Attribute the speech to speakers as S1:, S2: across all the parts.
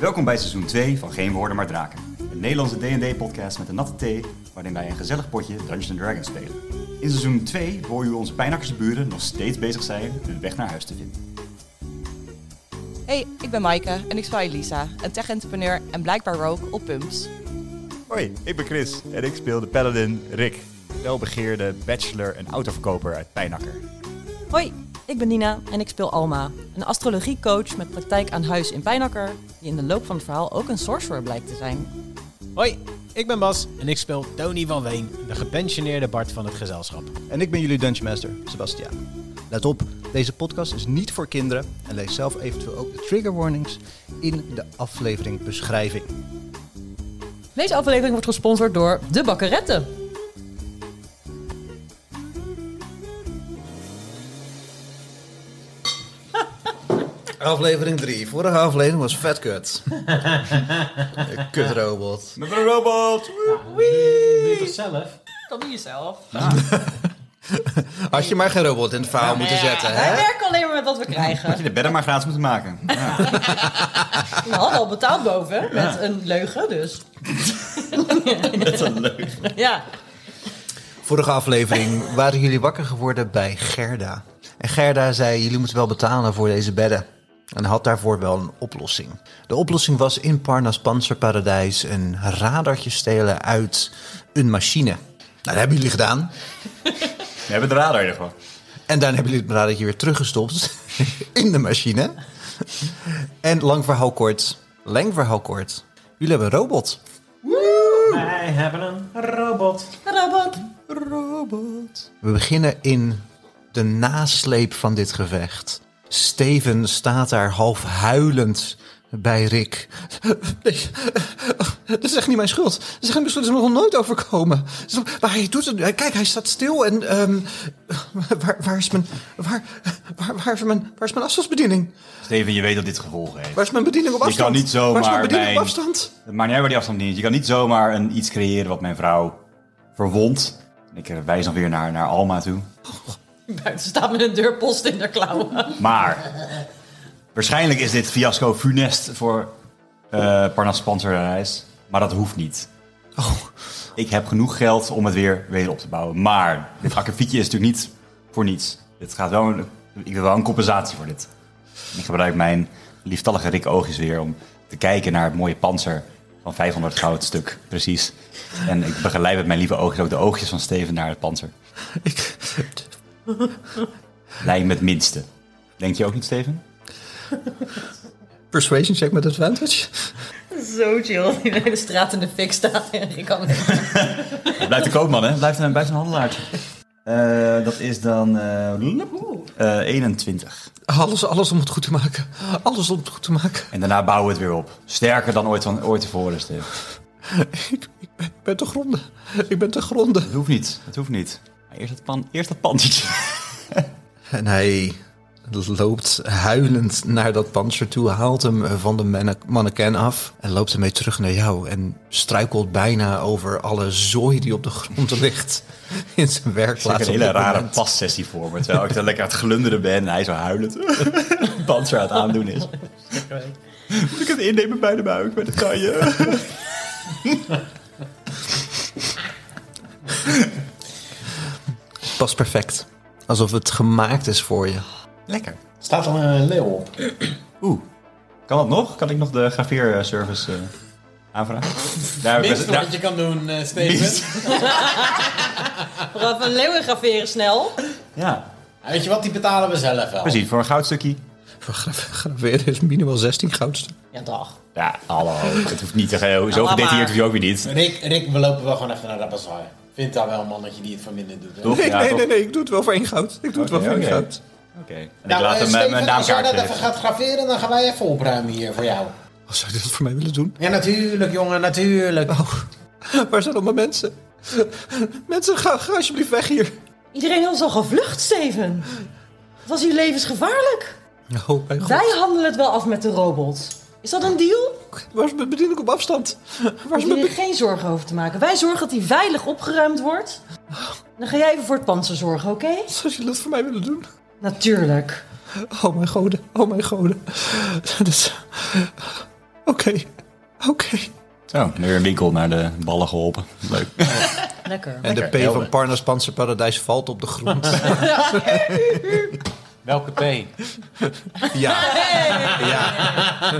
S1: Welkom bij seizoen 2 van Geen Woorden Maar Draken. Een Nederlandse D&D-podcast met een natte thee, waarin wij een gezellig potje Dungeons Dragons spelen. In seizoen 2 hoor je hoe onze pijnakkersburen nog steeds bezig zijn hun weg naar huis te vinden.
S2: Hey, ik ben Maaike en ik speel Elisa, een tech-entrepreneur en blijkbaar ook op Pumps.
S3: Hoi, ik ben Chris en ik speel de paladin Rick, welbegeerde bachelor en autoverkoper uit Pijnakker.
S4: Hoi, ik ben Nina en ik speel Alma, een astrologiecoach met praktijk aan huis in Pijnakker, die in de loop van het verhaal ook een sorcerer blijkt te zijn.
S5: Hoi, ik ben Bas en ik speel Tony van Ween, de gepensioneerde Bart van het gezelschap.
S6: En ik ben jullie Dungeon Master, Sebastiaan. Let op, deze podcast is niet voor kinderen en lees zelf eventueel ook de trigger warnings in de aflevering beschrijving.
S4: Deze aflevering wordt gesponsord door De Bakkeretten.
S6: Aflevering 3. Vorige aflevering was vet kut. Kutrobot.
S3: Met een robot!
S5: Doe je toch zelf?
S4: Kan doe jezelf.
S6: Had je maar geen robot in het verhaal moeten zetten,
S4: Wij
S6: hè?
S4: werken alleen maar met wat we
S1: Had
S4: krijgen.
S1: je de bedden maar gratis moeten maken. Ja.
S4: We hadden al betaald boven met een leugen, dus.
S1: Dat is leuk.
S4: Ja,
S6: Vorige aflevering waren jullie wakker geworden bij Gerda. En Gerda zei, jullie moeten wel betalen voor deze bedden. En had daarvoor wel een oplossing. De oplossing was in Parnas Panzerparadijs een radartje stelen uit een machine. Nou, dat hebben jullie gedaan.
S1: We hebben de radar in ieder geval.
S6: En daarna hebben jullie het radartje weer teruggestopt in de machine. En lang verhaal kort, lang verhaal kort. Jullie hebben een robot.
S5: Wij hebben een robot.
S4: robot.
S6: We beginnen in de nasleep van dit gevecht. Steven staat daar half huilend bij Rick. Nee, dat is echt niet mijn schuld. Dat is echt niet mijn schuld. Dat is me nog nooit overkomen. Dus Maar hij doet het. Kijk, hij staat stil en... ehm, waar, waar, is mijn, waar, waar, waar, is mijn, waar is mijn afstandsbediening?
S1: Steven, je weet dat dit gevolgen heeft.
S6: Waar is mijn bediening op
S1: Je
S6: afstand?
S1: kan niet
S6: Waar is
S1: zomaar
S6: mijn bediening
S1: mijn-
S6: op afstand?
S1: Het maakt niet uit waar die afstand niet is. Je kan niet zomaar een, iets creëren wat mijn vrouw verwondt. Ik eh, wijs dan weer naar, naar Alma toe.
S4: Buiten staat met een deurpost in de klauwen.
S1: Maar waarschijnlijk is dit fiasco funest voor eh Parnas Panzerreis. Maar dat hoeft niet. Ik heb genoeg geld om het weer weder op te bouwen. Maar dit akkefietje is natuurlijk niet voor niets. Dit gaat wel een, ik wil wel een compensatie voor dit. Ik gebruik mijn lieftallige Rick oogjes weer om te kijken naar het mooie panzer van 500 goud stuk. Precies. En ik begeleid met mijn lieve oogjes ook de oogjes van Steven naar het panzer.
S6: Ik,
S1: Lijn met minste. Denk je ook niet, Steven?
S6: persuasion check met advantage.
S4: Zo chill, die de hele straat in de fik staat en ik kan
S1: Blijft de koopman, hè? Blijft een, blijft een handelaartje. Eh, dat is dan eh, eh, 21.
S6: Alles, alles om het goed te maken. Alles om het goed te maken.
S1: En daarna bouwen we het weer op. Sterker dan ooit, van, ooit tevoren, dus, eh, Steve.
S6: Ik, ik ben- ik ben te gronden. Ik ben te gronden.
S1: Het hoeft niet. Het hoeft niet. Maar eerst dat, pan, eerst dat pandje.
S6: En hij dus loopt huilend naar dat panzer toe, haalt hem van de manne- mannequin af en loopt ermee terug naar jou en struikelt bijna over alle zooi die op de grond ligt in zijn
S1: Ik
S6: werkplaats.
S1: heb een
S6: op
S1: hele
S6: dit
S1: rare
S6: moment.
S1: passessie voor me. Terwijl ik dan lekker aan het glunderen ben en hij zo huilend. panzer aan het aandoen is. Moet ik het innemen bij de buik, bij de taille?
S6: Pas perfect. Alsof het gemaakt is voor je.
S1: lekker.
S5: Staat al een leeuw op.
S1: Oeh. Kan dat nog? Kan ik nog de graveerservice eh aanvragen? Daar heb ik best- daar-
S5: je kan doen, eh, Steven.
S4: Raf een leeuwen graveren snel.
S1: Ja,
S5: Weet je wat, die betalen we zelf wel.
S1: precies. Voor een goudstukje.
S6: Voor gra- graveren is minimaal 16 goudstukken.
S4: Ja, dag.
S1: Ja, hallo. Het hoeft niet te geheel. Zo
S4: maar.
S1: gedetailleerd hoef je ook weer niet.
S5: Rick, Rick, we lopen wel gewoon even naar de bazaar. Vindt daar wel een mannetje die het voor minder doet. hè?
S1: Toch?
S6: Nee,
S1: Ja,
S6: nee,
S1: toch?
S6: nee, nee, ik doe het wel voor één goud. Ik doe het wel
S1: Oké,
S6: voor één
S1: oké.
S6: goud.
S1: Oké. En ik
S5: Nou,
S1: laat
S5: eh,
S1: hem eh,
S5: Steven,
S1: mijn
S5: als jij
S1: naamkaart
S5: dat even
S1: geven.
S5: gaat graveren, dan gaan wij even opruimen hier voor jou.
S6: Oh, zou je dat voor mij willen doen?
S5: Ja, natuurlijk, jongen, natuurlijk.
S6: Oh, waar zijn allemaal mensen? Mensen, ga, ga alsjeblieft weg hier.
S4: Iedereen was al gevlucht, Steven. Was hier levensgevaarlijk?
S6: Oh, mijn god.
S4: Wij handelen het wel af met de robot. Is dat een deal?
S6: Waar is mijn bediening op afstand? Waar is
S4: Hoef
S6: mijn
S4: je er
S6: bediening?
S4: geen zorgen over te maken. Wij zorgen dat hij veilig opgeruimd wordt. Dan ga jij even voor het panzer zorgen, oké?
S6: Zou je dat voor mij willen doen?
S4: Natuurlijk.
S6: Oh, mijn goden. Oh, mijn goden. Dat is... Dus, Oké, oké.
S1: Zo, Oh, weer een winkel naar de ballen geholpen. Leuk.
S7: Lekker.
S6: En de P van Parnas Panzerparadijs valt op de grond.
S5: Welke P?
S6: ja. ja.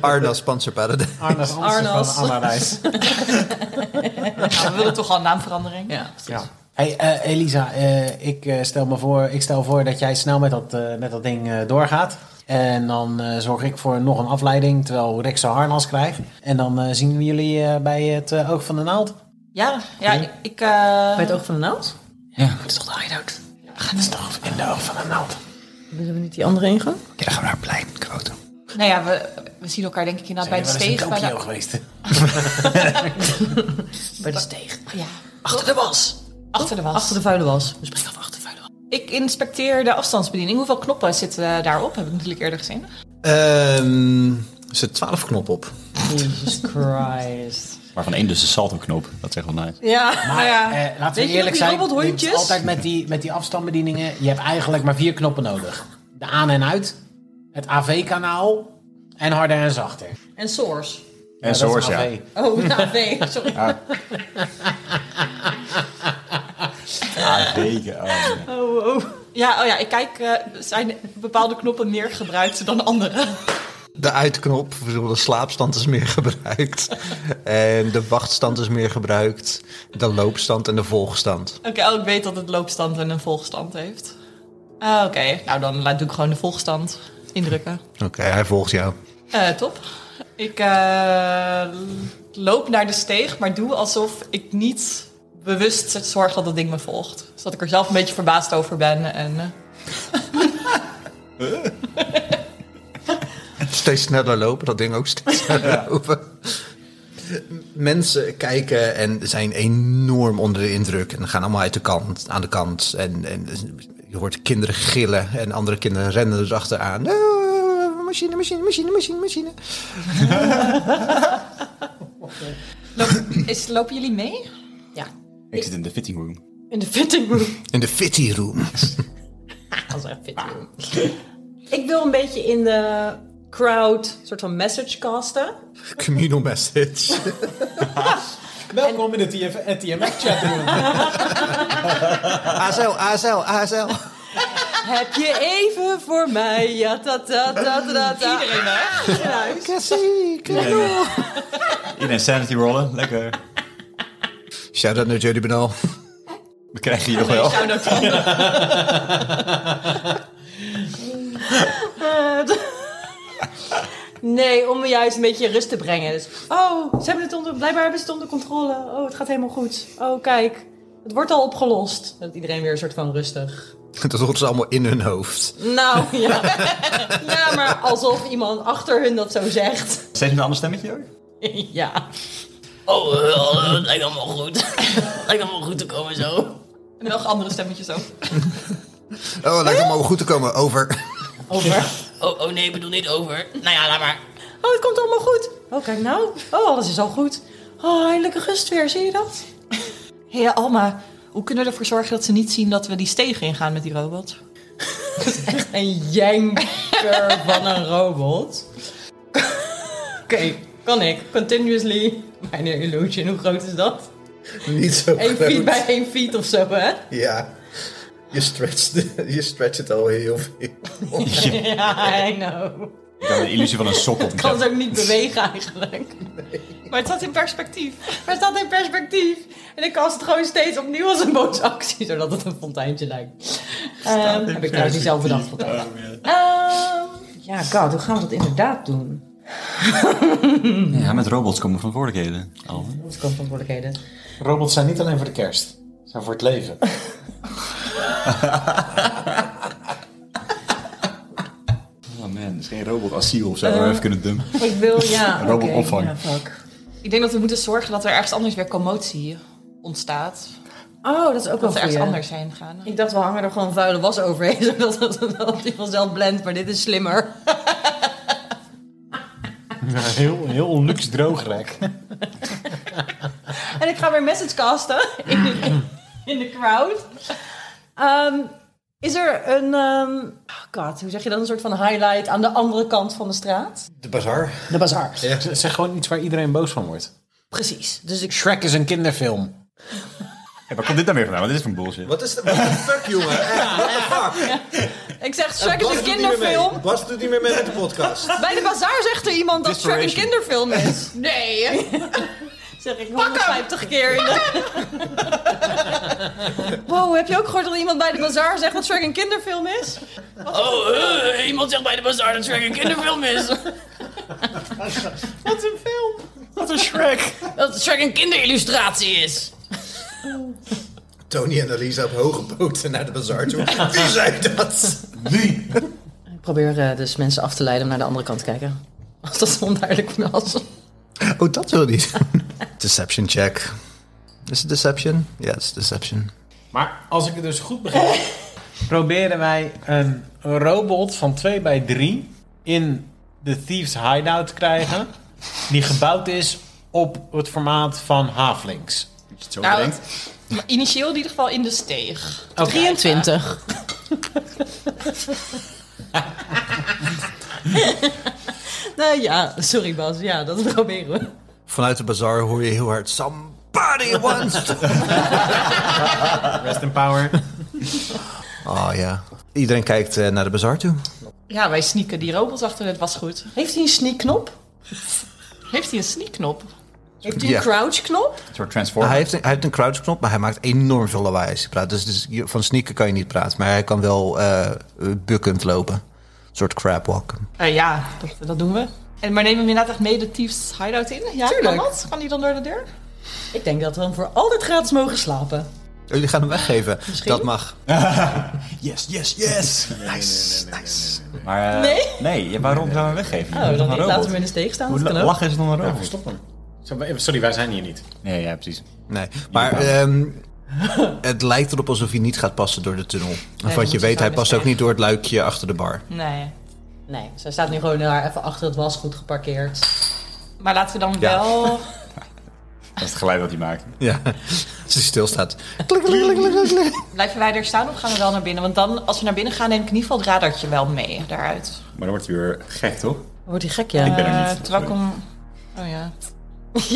S6: Arnas Panzerparadijs.
S5: Arnas
S7: Arnas.
S5: van Analyse.
S2: we willen toch al een naamverandering.
S7: Ja, precies.
S5: Hey, eh, Elisa, eh, ik, eh, stel me voor, ik stel voor dat jij snel met dat, eh, met dat ding eh, doorgaat. En dan eh, zorg ik voor nog een afleiding, terwijl Rick zijn harnas krijgt. En dan eh, zien we jullie eh, bij het eh, oog van de naald.
S2: Ja, ja ik... ik eh,
S7: Bij het oog van de naald?
S1: Ja.
S7: Dat is toch de hideout?
S5: Gaan we toch in de oog van de naald.
S7: Willen we niet die andere ingang?
S1: Ja, dan gaan we naar het plein, Kroto.
S2: nou ja, we, we zien elkaar denk ik inderdaad bij de steeg. Bij de,
S5: geweest?
S7: Bij de steeg.
S2: ja,
S7: Achter de was.
S2: achter de was.
S7: Achter de vuile was. Dus We springen van achter de vuile was.
S2: Ik inspecteer de afstandsbediening. Hoeveel knoppen zitten eh, daarop? Heb ik natuurlijk eerder gezien.
S6: Ehm, er zit 12 knop op.
S7: Jesus Christ.
S1: Waarvan één dus de salto-knoop. Dat is echt wel nice.
S7: Ja,
S5: Maar
S2: Ah,
S7: nou ja.
S5: eh, laten
S7: Weet
S5: we
S7: je nog
S5: eerlijk
S7: die
S5: zijn,
S7: robothondjes?
S5: dit is altijd met die, met die afstandsbedieningen, je hebt eigenlijk maar vier knoppen nodig. De aan en uit, het AV-kanaal en harder en zachter.
S7: En Source.
S1: En
S5: dat is
S1: Source, ja.
S5: AV.
S7: Oh, nou, nee, sorry.
S1: Ah, zeker. Oh, ja.
S7: Oh, oh.
S2: Ja, oh ja, ik kijk, eh, zijn bepaalde knoppen meer gebruikt dan andere?
S6: De uitknop, ik bedoel, de slaapstand is meer gebruikt. En de wachtstand is meer gebruikt. De loopstand en de volgstand.
S2: Oké, oh, ik weet dat het loopstand en een volgstand heeft. Ah, Oké, nou dan laat doe ik gewoon de volgstand indrukken.
S6: Oké, hij volgt jou.
S2: Eh, top. Ik eh, loop naar de steeg, maar doe alsof ik niet bewust zorg dat dat ding me volgt. Zodat ik er zelf een beetje verbaasd over ben. En, eh,
S6: Steeds sneller lopen, dat ding ook steeds sneller lopen. Mensen kijken en zijn enorm onder de indruk. En gaan allemaal uit de kant, aan de kant. En, en je hoort kinderen gillen en andere kinderen rennen erachteraan. Eh, machine, machine, machine, machine, machine.
S2: loop- is, lopen jullie mee?
S7: Ja,
S1: Ik zit in de fitting room.
S7: in de fitting room.
S6: In de fitty room.
S7: Als een fitting room. Ik wil een beetje in de crowd soort van message casten.
S6: Communal message.
S5: Welkom in de eh, TMF-chatroom.
S6: ASL, ASL, ASL.
S7: Heb je even voor mij? Ja, ta ta ta ta ta.
S2: Iedereen hè?
S6: Cassie, Communal.
S1: In insanity rollen, lekker.
S6: Shout-out naar Jody Benal.
S1: We krijgen hier nog wel.
S7: Nee, om me juist een beetje rust te brengen. Dus, oh, ze hebben het onder, blijkbaar hebben ze het onder controle. Oh, het gaat helemaal goed. Oh, kijk. Het wordt al opgelost. Dat iedereen weer een soort van rustig.
S6: Dat hoort ze allemaal in hun hoofd.
S7: Nou, ja. ja, maar alsof iemand achter hun dat zo zegt.
S1: Steeds met een ander stemmetje ook?
S7: ja.
S8: Oh, eh, het lijkt allemaal goed. Het lijkt allemaal goed te komen zo.
S2: En nog andere stemmetjes ook.
S6: Oh, lijkt allemaal goed te komen. Over.
S8: Oh, oh nee, ik bedoel niet over. Nou ja, laat maar.
S7: Oh, het komt allemaal goed. Oh, kijk nou. Oh, alles is al goed. Oh, eindelijke rust weer. Zie je dat?
S2: Hé hey, Alma, hoe kunnen we ervoor zorgen dat ze niet zien dat we die steeg ingaan met die robot?
S7: Een janker van een robot. Oké, kan ik. Continuously. Mijn illusion, hoe groot is dat?
S6: Niet zo
S7: 1 feet bij 1 feet of zo, hè?
S6: Ja. Je stretcht, je stretcht het al heel veel.
S7: Ja, I know.
S1: Ik had de illusie van een sok op.
S7: Kan ze ook niet bewegen eigenlijk.
S2: Maar het staat in perspectief.
S7: Maar staat in perspectief. En ik kast het gewoon steeds opnieuw als een boze actie, zodat het een fonteintje lijkt. Ehm, heb ik trouwens niet zelf bedacht. Fontein. Ehm, ja, god, hoe gaan we dat inderdaad doen?
S1: Ja, met robots komen verantwoordelijkheden. Oh.
S7: Onze verantwoordelijkheden.
S5: Robots zijn niet alleen voor de kerst, ze zijn voor het leven.
S1: oh man, er is geen robotasiel of zo. waar we even kunnen dumpen.
S7: Ik wil, ja.
S1: Een robotopvang.
S7: oké, ja, fuck.
S2: Ik denk dat we moeten zorgen dat er ergens anders weer commotie ontstaat.
S7: Oh, dat is ook
S2: Dat
S7: wel
S2: we ergens
S7: goed.
S2: anders heen gaan.
S7: Ik dacht, we hangen er gewoon vuile was overheen, zodat het- dat die vanzelf blendt, maar dit is slimmer.
S5: Heel, heel luxe droogrek.
S7: En ik ga weer message casten in de, in de crowd. Ehm, is er een... ehm, god, hoe zeg je dat? Een soort van highlight aan de andere kant van de straat?
S6: De bazaar.
S7: De bazaar.
S5: Z- Zeg gewoon iets waar iedereen boos van wordt.
S7: Precies. Dus ik...
S5: Shrek is een kinderfilm.
S1: Ja, waar komt dit nou weer vandaan? Wat is dit voor een bullshit?
S6: Wat is de what the fuck, jongen? Echt, what the fuck?
S2: Ik zeg, Shrek is
S6: Bas
S2: een
S6: doet niet meer mee.
S2: kinderfilm.
S6: Bas doet niet meer mee met de podcast.
S2: Bij de bazaar zegt er iemand dat Shrek een
S1: Desperation.
S2: kinderfilm is. Nee.
S7: Zeg ik
S2: 150 keer in de... Wow, heb je ook gehoord dat iemand bij de bazaar zegt dat Shrek een kinderfilm is?
S9: Oh, eh, iemand zegt bij de bazaar dat Shrek een kinderfilm is.
S2: Wat een film.
S1: Wat een Shrek!
S9: Dat Shrek een kinderillustratie is.
S6: Tony en Elisa op hoge poten naar de bazaar toe. Wie zei dat?
S1: Wie?
S7: Ik probeer eh, dus mensen af te leiden om naar de andere kant te kijken. Als dat onduidelijk was.
S6: Oh, dat wil niet. Deception check. Is het deception? Ja, het is deception.
S5: Maar als ik het dus goed begrijp, proberen wij een robot van 2 bij 3 in de Thieves Hideout te krijgen. Die gebouwd is op het formaat van Havelings.
S1: Als je het zo
S2: Nou,
S1: bedenkt.
S2: maar Initieel in ieder geval in de steeg.
S7: 23. nou ja, sorry Bas. Ja, dat proberen we.
S6: Vanuit de bazaar hoor je heel hard... Somebody wants to-"
S5: Rest in power.
S6: Oh ja. Iedereen kijkt eh, naar de bazaar toe.
S2: Ja, wij sneaken die robot achter het wasgoed.
S7: Heeft hij een sneakknop?
S2: Heeft hij een sneakknop?
S7: Heeft hij
S6: Ja.
S7: een crouchknop?
S1: Een soort transformer.
S6: Hij, heeft een, hij heeft een crouchknop, maar hij maakt enorm veel lawaai als hij praat. Dus, dus je- van sneaken kan je niet praten, maar hij kan wel eh, bukkend lopen. Een soort Oh, crabwalk.
S2: Eh, ja, dat, dat doen we. En, maar neem hem inderdaad echt mee de Thieves Hideout in? Ja,
S7: Tuurlijk.
S2: kan dat? Kan die dan door de deur?
S7: Ik denk dat we hem voor altijd gratis mogen slapen.
S6: Oh, Jullie gaan hem weggeven. Dat mag.
S1: Yes, yes, yes! Nice, nice. Maar, eh,
S7: Nee?
S1: Nee, ja, waarom zou je hem weggeven? Je
S7: Oh,
S1: bent
S7: dan
S1: toch een
S7: niet. Laten we
S1: robot?
S7: hem in de steek staan.
S1: Hoe
S7: Dat
S1: la-
S7: kan ook.
S1: lachen is het dan een robot?
S5: Oh, Stop hem. Zo- Sorry, wij zijn hier niet.
S1: Nee, ja, precies.
S6: Nee. Maar ehm, het lijkt erop alsof hij niet gaat passen door de tunnel. Want
S7: moet
S6: je
S7: je
S6: weet, hij
S7: vuilnis
S6: past ook
S7: krijgen.
S6: niet door het luikje achter de bar.
S2: Nee.
S7: Nee, zij staat nu gewoon daar even achter het wasgoed geparkeerd.
S2: Maar laten we dan
S6: Ja.
S2: wel...
S1: Dat is het geluid dat hij maakt.
S6: Ja, als hij stilstaat.
S2: Blijven wij er staan of gaan we wel naar binnen? Want dan, als we naar binnen gaan, neem ik in ieder geval het radartje wel mee daaruit.
S1: Maar dan wordt hij weer gek, toch?
S7: Wordt hij gek, ja?
S1: Ik ben er
S2: Eh,
S1: niet.
S2: terwijl ik hem... Oh ja.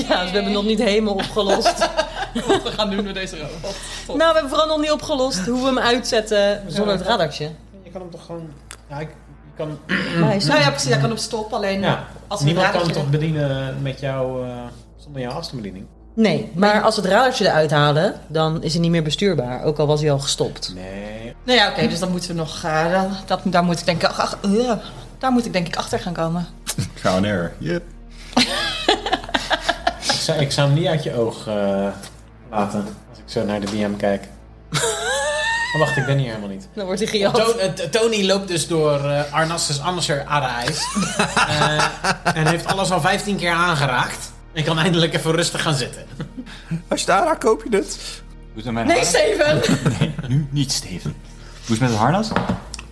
S7: Ja, dus we hebben nog niet helemaal opgelost.
S2: Wat gaan doen met deze robot?
S7: nou, we hebben vooral nog niet opgelost hoe we hem uitzetten zonder het radartje.
S5: Je kan hem toch gewoon... Ja, ik, je kan...
S7: Maar
S2: Nou ja, precies. Hij kan op stop. Alleen
S5: Ja,
S2: als we het
S5: niemand kan hem
S2: radartje...
S5: toch bedienen met jou... eh, zonder jouw afstandsbediening?
S7: Nee, maar als we het radartje eruit halen, dan is hij niet meer bestuurbaar. Ook al was hij al gestopt.
S5: Nee.
S2: Nou ja, oké. dus dan moeten we nog... eh, dan- dat, daar moet ik denk ik... ach- ach, eh, daar moet ik denk ik achter gaan komen.
S1: Trial and error. Yep.
S5: Ik zou, ik zou hem niet uit je oog eh, laten. Als ik zo naar de DM kijk. Oh, wacht, ik ben hier helemaal niet.
S7: Dan wordt hij gejat.
S5: Toon- eh, t- Tony loopt dus door eh, Arnassus Anser Arais. Eh, en heeft alles al 15 keer aangeraakt. En kan eindelijk even rustig gaan zitten.
S6: Als je het aanraakt, koop je het.
S1: Doe het met mijn
S2: Nee,
S1: harnas?
S2: Steven!
S1: Nee, nu niet, Steven. Hoe is het met het harnas?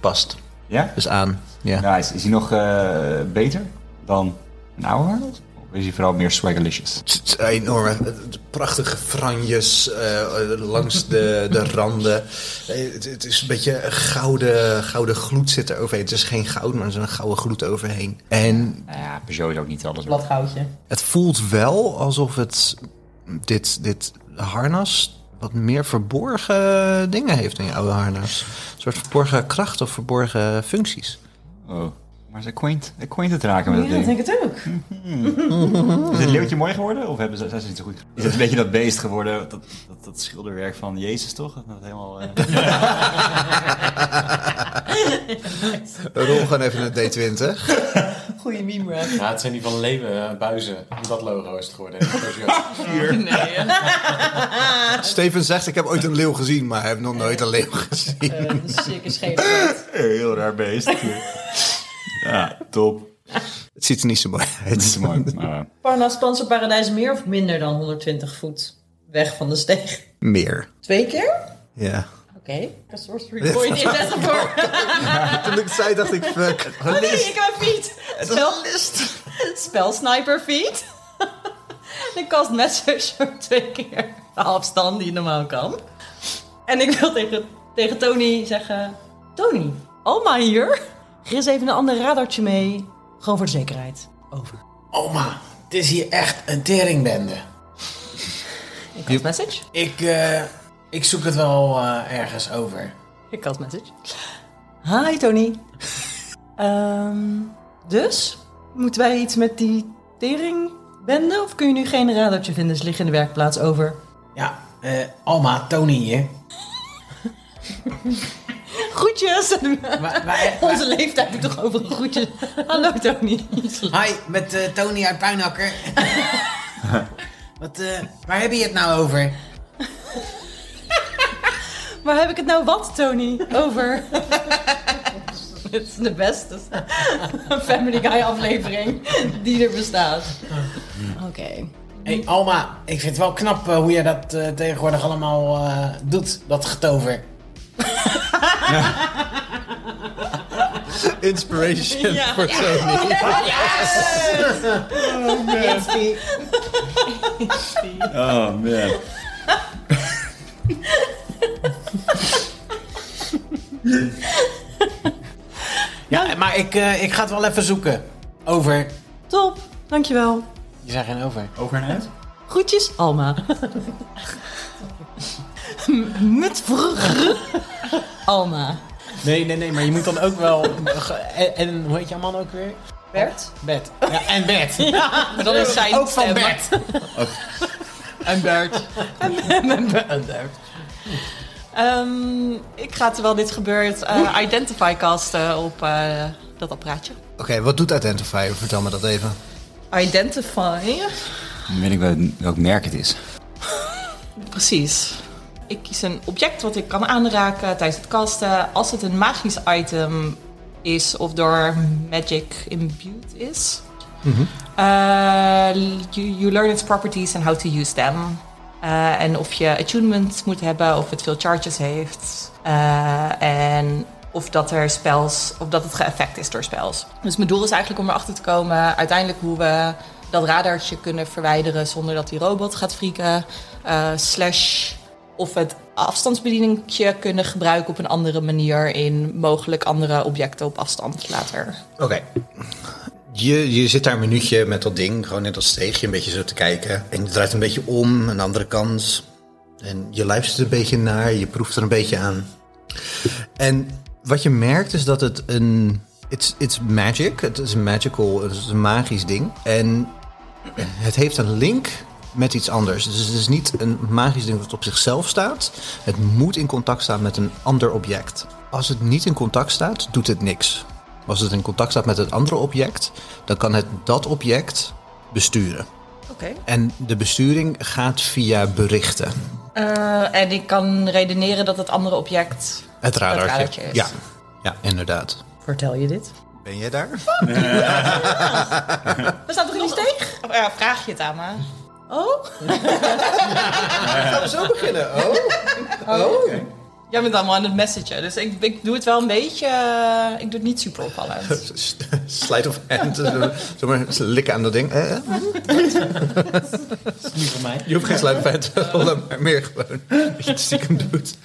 S6: Past.
S1: Ja?
S6: Dus aan. Ja.
S1: Nou, is, is hij nog eh, beter dan een oude harnas? Of is hij vooral meer swaggerlicious?
S6: Het is eh, Enorme, het- het- prachtige franjes eh, eh, langs de, de randen. Eh, Het, het is een beetje een gouden, gouden gloed zit er overheen. Het is geen goud, maar er is een gouden gloed overheen. En
S1: Nou ja, Peugeot is ook niet alles.
S7: Plat goudje.
S6: het voelt wel alsof het dit, dit harnas wat meer verborgen dingen heeft in je oude harnas. Een soort verborgen kracht of verborgen functies.
S1: Oh. Maar ze acquaint, acquainted raken met dat ding.
S7: het ook.
S1: Is het leeuwtje mooi geworden? Of hebben ze, zijn ze niet zo goed? Is het een beetje dat beest geworden? Dat, dat, dat schilderwerk van Jezus, toch? Dat helemaal... eh,
S6: Rol gewoon even een D20.
S7: Goeie meme rap.
S5: Ja, het zijn die van Leeuwen Buizen. Dat logo is het geworden.
S6: Steven zegt, ik heb ooit een leeuw gezien, maar ik heb nog nooit een leeuw gezien.
S7: Een zieke scheef.
S1: Heel raar beest. ja, top.
S6: Het ziet er niet zo mooi
S1: Het
S6: uit.
S1: is mooi. maar-
S7: Parnas Panzer Paradijs meer of minder dan 120 voet weg van de steeg?
S6: Meer.
S7: Twee keer?
S6: Ja.
S7: Oké. Een sorcery point in metaphor.
S6: Toen ik zei, dacht ik, fuck.
S7: Oh nee, ik heb een feat. Spel... Spelsniper feat. ik cast message voor twee keer de afstand die je normaal kan. En ik wil tegen, tegen Tony zeggen... Tony, Alma hier. Gris even een ander radartje mee. Gewoon voor de zekerheid.
S5: Oma, het is hier echt een teringbende.
S7: Ik had message.
S5: Ik, eh, ik zoek het wel eh, ergens over.
S7: Ik had message. Hi Tony. Ehm, dus, moeten wij iets met die teringbende? Of kun je nu geen radartje vinden? Ze liggen in de werkplaats over.
S5: Ja, eh, Alma, Tony hier.
S7: Groetjes!
S5: Wij- wij-
S7: Onze leeftijd doet toch overal groetjes. Hallo Tony.
S5: Hi, met eh, Tony uit Puinhakker. Wat, eh, waar heb je het nou over?
S7: Waar heb ik het nou wat, Tony? Over. Dit is de beste Family Guy aflevering die er bestaat. Oké.
S5: hey, Alma, ik vind het wel knap eh, hoe jij dat eh, tegenwoordig allemaal eh, doet, dat getover.
S6: Inspiration voor Tony.
S1: Oh man.
S5: Ja, maar ik, eh, ik ga het wel even zoeken. Over.
S7: Top, dankjewel.
S5: Je zei geen over.
S1: Over en uit?
S7: Groetjes, Alma. M- Met vroeg. Alma.
S5: Nee, nee, nee, maar je moet dan ook wel... En, en hoe heet jouw man ook weer?
S7: Bert?
S5: Bed. Ja, en bed.
S2: Maar dan is zij
S5: ook van
S2: stem.
S5: bed.
S2: En Bert. Ehm, ik ga terwijl dit gebeurt
S7: Hm.
S2: eh, Identify casten op eh, dat apparaatje.
S6: Oké, wat doet Identify? Vertel me dat even.
S2: Identify?
S1: Dan weet ik wel welk merk het is.
S2: Precies. Ik kies een object wat ik kan aanraken tijdens het casten. Als het een magisch item is of door magic imbued is. Eh, you, you learn its properties and how to use them. Eh, en of je attunement moet hebben, of het veel charges heeft. Eh, en of dat er spells, of dat het geëffect is door spells. Dus mijn doel is eigenlijk om erachter te komen uiteindelijk hoe we dat radartje kunnen verwijderen zonder dat die robot gaat frieken. Eh, slash of we het afstandsbedieningje kunnen gebruiken op een andere manier in mogelijk andere objecten op afstand later.
S6: Oké. Je, je zit daar een minuutje met dat ding, gewoon in dat steegje, een beetje zo te kijken. En je draait een beetje om, een andere kant. En je luistert een beetje naar, je proeft er een beetje aan. En wat je merkt is dat het een... It's, it's magic, het is een magical, het is een magisch ding. En het heeft een link met iets anders. Dus het is niet een magisch ding dat op zichzelf staat. Het moet in contact staan met een ander object. Als het niet in contact staat, doet het niks. Als het in contact staat met het andere object, dan kan het dat object besturen.
S2: Oké.
S6: En de besturing gaat via berichten.
S2: Eh, en ik kan redeneren dat het andere object.
S6: Het radartje.
S2: radartje is.
S6: Ja. ja, inderdaad.
S7: Vertel je dit?
S6: Ben jij daar?
S2: We staan toch niet steeg? Oh Ja, vraag je het aan me.
S7: Oh?
S6: Gaan we zo beginnen? Oh?
S2: Jij bent allemaal aan het messagen, dus ik, ik doe het wel een beetje. eh, ik doe het niet super opvallend.
S6: Slide of hand. Zomaar likken aan dat ding. Eh, eh.
S5: Dat is niet van mij.
S6: Je hoeft geen slide of hand te rollen, maar meer gewoon dat je het stiekem doet.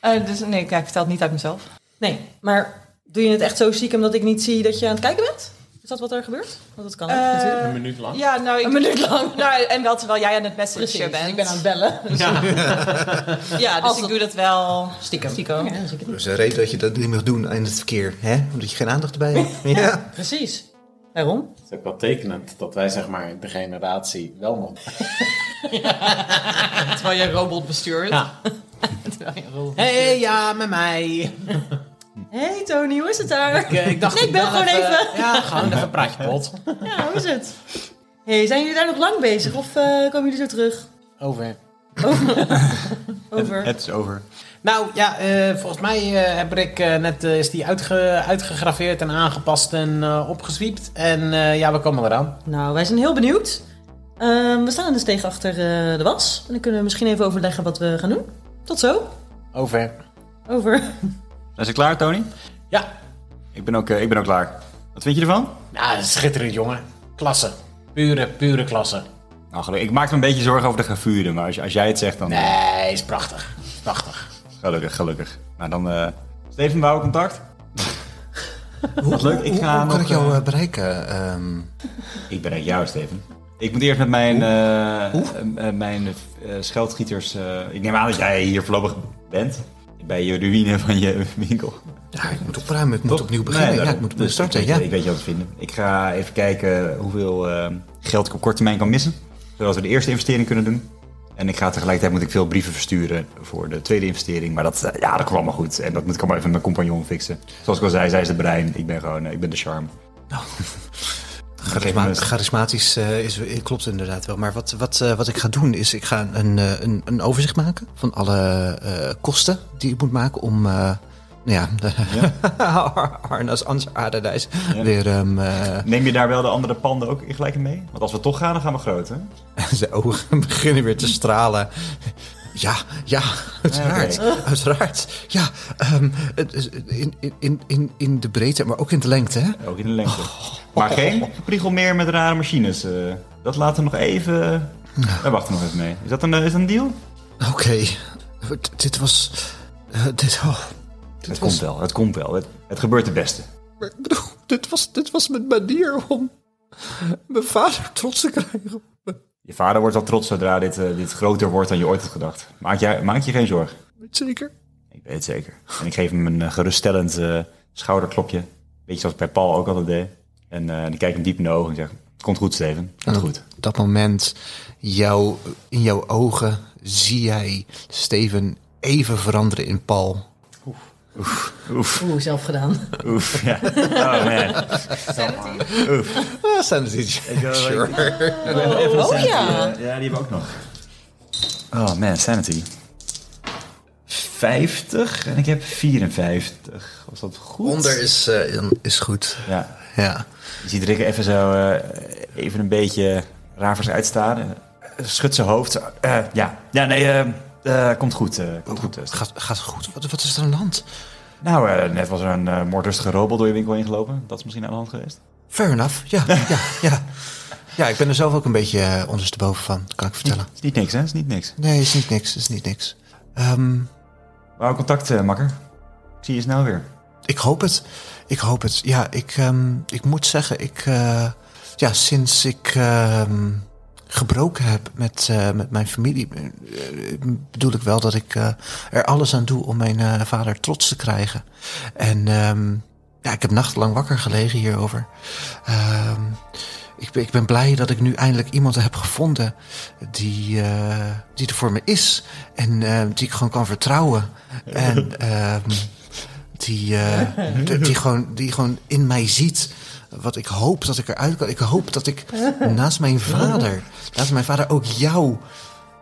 S2: Eh, dus nee, kijk, ik vertel het niet uit mezelf.
S7: Nee, maar doe je het echt zo ziek omdat ik niet zie dat je aan het kijken bent? Is dat wat er gebeurt? Want dat kan ook,
S2: Eh,
S7: natuurlijk.
S10: Een minuut lang.
S2: Ja, nou, ik,
S7: Een minuut lang.
S2: Nou, en wel terwijl jij aan het messagen bent.
S7: ik ben aan het bellen.
S2: Ja, dus
S7: Als
S2: ik
S7: het-
S2: doe dat wel.
S7: Stiekem.
S2: Stiekem.
S7: Ja, zeker.
S6: Dus een reden dat je dat niet mag doen in het verkeer, hè? Omdat je geen aandacht erbij hebt. Ja.
S7: Precies. Waarom?
S10: Het is ook wel tekenend dat wij zeg maar de generatie wel nog
S2: Terwijl je een robot bestuurt.
S5: Ja. Hé, hey, ja, met mij.
S7: Hey Tony, hoe is het daar?
S5: Ik, eh, ik dacht,
S7: Nee, ik
S5: bel
S7: bel gewoon
S5: Ja, gewoon even een praatje pot.
S7: Ja, hoe is het? Hey, zijn jullie daar nog lang bezig of eh, komen jullie zo terug?
S5: Over.
S7: Over.
S1: Het is over.
S5: Nou ja, eh, volgens mij eh, heb ik eh, net eh, is die uitge, uitgegraveerd en aangepast en eh, opgezwiept. En eh, ja, we komen eraan.
S7: Nou, wij zijn heel benieuwd. Ehm, we staan dus tegen achter eh, de was. En dan kunnen we misschien even overleggen wat we gaan doen. Tot zo.
S5: Over.
S7: Over.
S1: Zijn ze klaar, Tony?
S5: Ja,
S1: Ik ben ook, eh, ik ben ook klaar. Wat vind je ervan?
S5: nou, schitterend jongen. Klasse. Pure, pure klasse.
S1: Nou, gelukkig. Ik maak me een beetje zorgen over de gravuren, maar als, je- als jij het zegt, dan... eh,
S5: Nee, is Eh, prachtig. Is prachtig.
S1: Gelukkig, gelukkig. Nou, dan... eh Steven, we houden contact. Dat is leuk. Ik
S6: Hoe,
S1: ga
S6: hoe kan
S1: nog,
S6: ik jou
S1: eh,
S6: eh, bereiken? Ehm,
S1: Ik bereik jou, Steven. Ik moet eerst met mijn, eh, eh, eh, mijn eh, scheldgieters... eh, ik neem aan dat jij hier voorlopig bent. Bij je ruïne van je winkel.
S6: ja, ik moet opruimen, ik moet
S1: Toch?
S6: opnieuw
S1: Nee,
S6: beginnen. ja,
S1: daarom.
S6: ik moet opnieuw
S1: Dus
S6: starten.
S1: Ik weet,
S6: Ja.
S1: ik weet je wat te vinden. Ik ga even kijken hoeveel eh, geld ik op korte termijn kan missen. Zodat we de eerste investering kunnen doen. En ik ga tegelijkertijd moet ik veel brieven versturen voor de tweede investering. Maar dat, eh, ja, dat kwam maar goed. En dat moet ik allemaal even met mijn compagnon fixen. Zoals ik al zei, zij is de brein. Ik ben gewoon, eh, ik ben de charme.
S6: Charisma- charismatisch eh, is, eh, klopt inderdaad wel. Maar wat, wat, eh, wat ik ga doen is, ik ga een, eh, een, een overzicht maken van alle eh, kosten die ik moet maken om... eh, nou ja, de- Arnas Ans Paradijs weer... ehm, eh,
S1: Neem je daar wel de andere panden ook in gelijk in mee? Want als we toch gaan, dan gaan we groot, hè?
S6: zijn ogen beginnen weer te stralen. Ja, ja, uiteraard, uiteraard. Ja, ehm, het is in, in, in, in de breedte, maar ook in de lengte, hè?
S1: Ook in de lengte.
S6: Oh.
S1: Maar geen priegel meer met rare machines. eh. dat laten we nog even... Daar wachten we nog even mee. Is dat een, eh, is dat een deal?
S6: Oké, D- dit was... eh, dit, oh,
S1: Het komt wel, het komt wel. Het, het gebeurt het beste.
S6: Maar ik bedoel, dit was, dit was mijn manier om mijn vader trots te krijgen.
S1: Je vader wordt al trots zodra dit, eh, dit groter wordt dan je ooit had gedacht. Maak je, maak je geen zorgen.
S6: Zeker.
S1: Ik weet het zeker. En ik geef hem een eh, geruststellend eh, schouderklopje. Beetje zoals ik bij Paul ook altijd deed. En eh, dan kijk ik hem diep in de ogen en zeg... Komt goed, Steven. Komt goed.
S6: Nou Op dat moment, jou, in jouw ogen, zie jij Steven even veranderen in Paul.
S7: Oeh, zelf gedaan.
S1: Oef, ja. Oh man.
S6: Ah, Sanity. Sure.
S1: Oh ja. Ja, die hebben we ook nog. Oh man, sanity. 50 en ik heb 54. Was dat goed?
S6: Onder is, eh, in- is goed.
S1: Ja.
S6: Ja.
S1: Je ziet Rick even zo eh, even een beetje raar voor zich uitstaren. Schudt zijn hoofd. Eh, ja. ja, nee, eh, eh, komt goed. eh, komt goed. eh.
S6: Gaat, gaat goed? Wat, wat is er aan de hand?
S1: Nou, eh, net was er een eh, moordlustige robot door je winkel heen gelopen. Dat is misschien aan de hand geweest.
S6: Fair enough. Ja, ja, ja. Ja, ik ben er zelf ook een beetje eh, ondersteboven van, kan ik vertellen.
S1: Is niet niks, hè? Is niet niks.
S6: Nee, is niet niks. Is niet niks. Ehm,
S1: Wauw, contact, eh, makker. Ik zie je snel weer.
S6: Ik hoop het. Ik hoop het. Ja, ik, ehm, ik moet zeggen, ik, eh, ja, sinds ik ehm, gebroken heb met, eh, met mijn familie, eh, bedoel ik wel dat ik eh, er alles aan doe om mijn eh, vader trots te krijgen. En ehm, ja, ik heb nachtlang wakker gelegen hierover. Ehm, ik, ben- ik ben blij dat ik nu eindelijk iemand heb gevonden die, eh, die er voor me is. En eh, die ik gewoon kan vertrouwen. En ehm, die, eh, die, die gewoon, die gewoon in mij ziet wat ik hoop dat ik eruit kan. Ik hoop dat ik naast mijn vader, naast mijn vader ook jou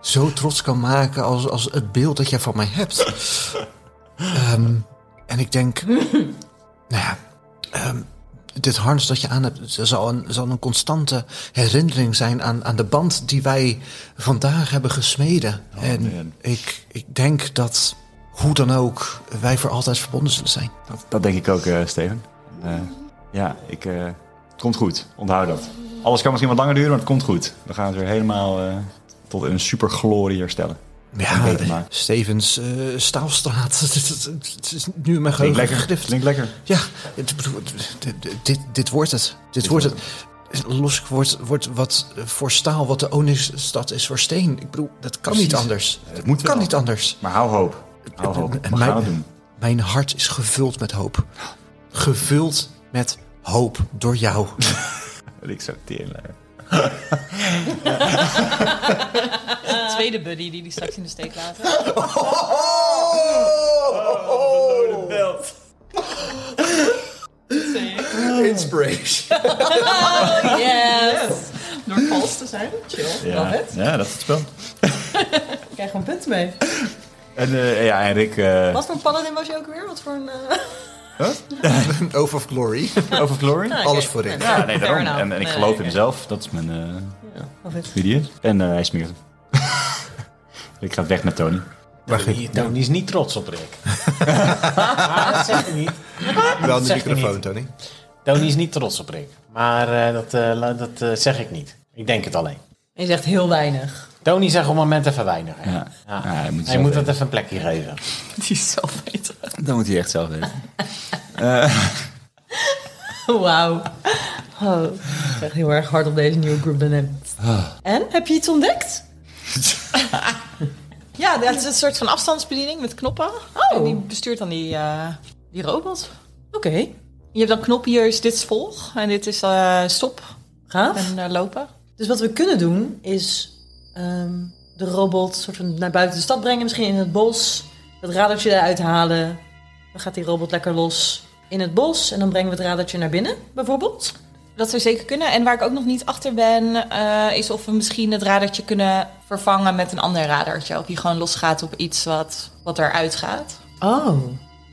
S6: zo trots kan maken als, als het beeld dat jij van mij hebt. Ehm, en ik denk, nou ja, ehm, dit harnas dat je aan hebt z- zal een, zal een constante herinnering zijn aan, aan de band die wij vandaag hebben gesmeden. en
S1: man.
S6: ik, ik denk dat hoe dan ook wij voor altijd verbonden zullen zijn.
S1: Dat, dat denk ik ook, eh, Steven. Eh, ja, ik, eh, het komt goed. Onthoud dat. Alles kan misschien wat langer duren, maar het komt goed. We gaan het weer helemaal eh, tot een superglorie herstellen.
S6: Ja,
S1: beter maken.
S6: Stevens, eh, Staalstraat. Het is- Het is nu in
S1: Klinkt
S6: mijn geheugen
S1: lekker.
S6: gegrift.
S1: Klinkt lekker.
S6: Ja, het- ik bedoel, dit, dit, dit wordt het. Dit, wordt het. Los wordt, wordt wat voor staal wat de Onyxstad is voor steen. Ik bedoel, dat kan niet anders.
S1: Het moet
S6: kan
S1: wel.
S6: niet anders.
S1: Maar hou hoop. Hou hoop. We
S6: Mijn-
S1: gaan het doen.
S6: Mijn hart is gevuld met hoop. Gevuld met hoop door jou.
S1: Ik zou teerlijn.
S2: De tweede buddy die die straks in de steek laten.
S6: Oh,
S1: Oh!
S6: Inspiration.
S2: Yes! Door vals te zijn.
S1: Ja. ja, dat is het spel.
S7: Ik krijg een punt mee.
S1: En, eh, ja, en Rick... eh,
S7: Wat voor een paladin was je ook weer? Wat voor een... eh,
S6: Over of glory.
S5: Oh,
S1: over Glory?
S6: Alles voor in.
S1: Ja, nee, daarom.
S2: enough.
S1: En, en ik
S2: Nee,
S1: geloof
S2: oké.
S1: in mezelf. Dat is mijn eh
S7: of het-
S1: idee. En eh, hij smeert hem. ik ga weg met Tony.
S5: Die Tony is niet trots op Rick. Maar dat zeg ik niet.
S6: Wel
S5: de zeg je microfoon, niet.
S6: Tony.
S5: Tony is niet trots op Rick. Maar eh, dat, eh, la- dat eh, zeg ik niet. Ik denk het alleen.
S7: Hij zegt heel weinig.
S5: Tony zegt op het moment even weinig. hè?
S1: Ja. Ja, hij moet,
S5: Hij moet dat even een plekje geven.
S2: Die is zelf beter.
S1: Dan moet hij echt zelf weten.
S7: Wauw. Oh, het is echt heel erg hard op deze nieuwe group dynamics.
S2: Ah.
S7: En, heb je iets ontdekt?
S2: Ja, dat is een soort van afstandsbediening met knoppen.
S7: Oh.
S2: En die bestuurt dan die, eh, die robot.
S7: Oké,
S2: Je hebt dan knopjes, dit is volg en dit is eh, stop
S7: gaaf.
S2: en eh, lopen.
S7: Dus wat we kunnen doen is ehm, de robot soort van naar buiten de stad brengen, misschien in het bos. Het radertje eruit halen. Dan gaat die robot lekker los in het bos en dan brengen we het radertje naar binnen, bijvoorbeeld.
S2: Dat zou zeker kunnen. En waar ik ook nog niet achter ben, eh, is of we misschien het radertje kunnen vervangen met een ander radertje. Of die gewoon losgaat op iets wat, wat eruit gaat.
S7: Oh.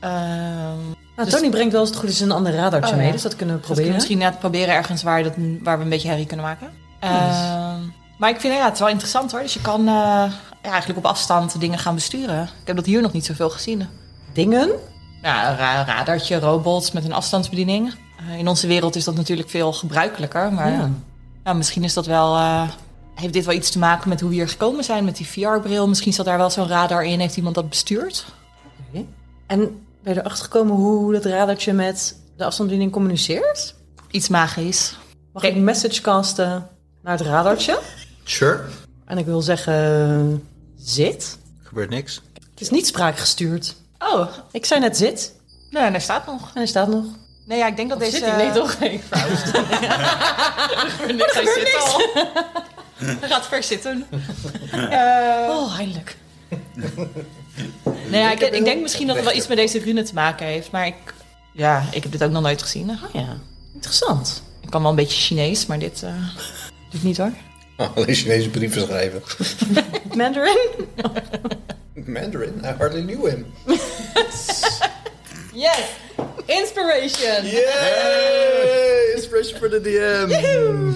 S2: Ehm,
S7: Nou,
S2: Dus-
S7: Tony brengt wel als het goed is een ander radartje
S2: Oh,
S7: mee,
S2: ja.
S7: dus dat kunnen we
S2: Dat kunnen we
S7: proberen.
S2: misschien net proberen ergens waar, dat, waar we een beetje herrie kunnen maken. Ehm, maar ik vind ja, het is wel interessant hoor. Dus je kan eh, ja, eigenlijk op afstand dingen gaan besturen. Ik heb dat hier nog niet zoveel gezien.
S7: Dingen?
S2: Nou, een ra- radartje, robots met een afstandsbediening. Eh, in onze wereld is dat natuurlijk veel gebruikelijker. Maar
S7: Ja.
S2: ja, misschien is dat wel. eh, heeft dit wel iets te maken met hoe we hier gekomen zijn met die VR-bril? Misschien zat daar wel zo'n radar in. Heeft iemand dat bestuurd?
S7: En ben je erachter gekomen hoe dat radertje met de afstandsbediening communiceert?
S2: Iets magisch.
S7: Mag ik message casten naar het radartje?
S6: Sure.
S7: En ik wil zeggen, zit.
S6: Gebeurt niks.
S7: Het is niet spraakgestuurd.
S2: Oh,
S7: Ik zei net zit,
S2: nee, daar staat nog.
S7: en er staat nog.
S2: Nee, ja, ik denk dat deze. eh, Oh,
S7: toch?
S2: Hij zit al. Hij gaat ver zitten.
S7: Oh, eindelijk.
S2: Nee, Nou ja, ik, ik denk misschien dat het wel iets met deze rune te maken heeft. Maar ik, ja, ik heb dit ook nog nooit gezien. Ah,
S7: Oh ja, interessant.
S2: Ik kan wel een beetje Chinees, maar dit, eh dit niet hoor.
S11: Alleen Chinese brieven schrijven.
S7: Mandarin?
S11: Mandarin, I hardly knew him.
S7: Yes! Inspiration!
S11: Yay! Inspiration for the DM.
S7: Wel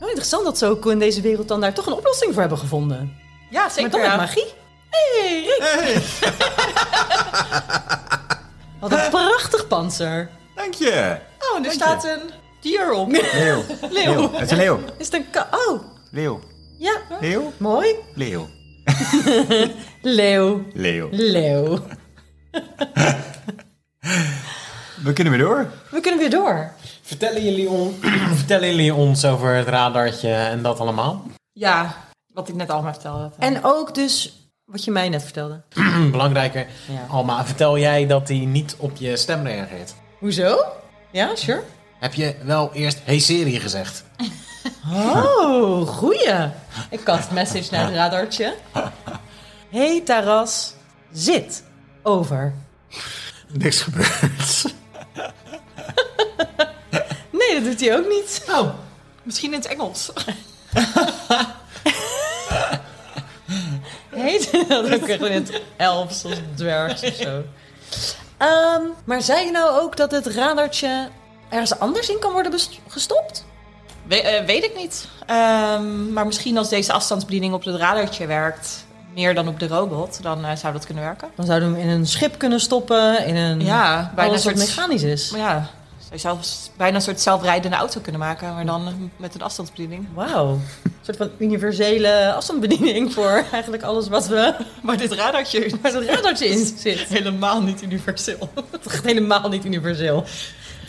S7: Oh, interessant dat ze ook in deze wereld dan daar toch een oplossing voor hebben gevonden.
S2: Ja,
S7: Maar
S2: zeker.
S7: dan met magie. hey, Rick! Wat een prachtig panzer.
S1: Dank je.
S2: Oh, en er staat een dier op.
S1: Leeuw. Leeuw. Het is een leeuw.
S7: Is het een ka- Oh,
S1: Leeuw.
S7: ja.
S1: Leeuw.
S7: Mooi.
S1: Leeuw.
S7: Leeuw.
S1: Leeuw.
S7: Leeuw.
S1: We kunnen weer door.
S7: We kunnen weer door.
S5: Vertellen jullie, on- vertellen jullie ons over het radartje en dat allemaal?
S2: Ja, wat ik net al maar vertelde.
S7: En ook dus wat je mij net vertelde.
S5: Belangrijker,
S7: Ja.
S5: Alma, vertel jij dat hij niet op je stem reageert?
S7: Hoezo? Ja, sure.
S5: Heb je wel eerst hey Siri gezegd?
S7: Oh, goeie.
S2: ik kast message naar het radartje.
S7: Hey Taras, zit. Over.
S6: Niks gebeurt.
S7: Nee, dat doet hij ook niet.
S5: Oh,
S2: Misschien in het Engels.
S7: Heet dat ook echt in het elfs of dwergs of zo. Ehm, maar zei je nou ook dat het radartje ergens anders in kan worden best- gestopt?
S2: We- eh, weet ik niet. Ehm, maar misschien als deze afstandsbediening op het radartje werkt, meer dan op de robot, dan eh, zou dat kunnen werken.
S7: Dan zouden we hem in een schip kunnen stoppen, in een...
S2: Ja, bijna een
S7: Mhm. alles wat
S2: soort
S7: mechanisch is.
S2: Maar ja, zou je zelfs bijna een soort zelfrijdende auto kunnen maken, maar dan eh, met een afstandsbediening.
S7: Wauw. Een soort van universele afstandsbediening voor eigenlijk alles wat we...
S2: Maar dit radartje
S7: waar het radartje in zit.
S2: helemaal niet universeel.
S7: Het is echt helemaal niet universeel.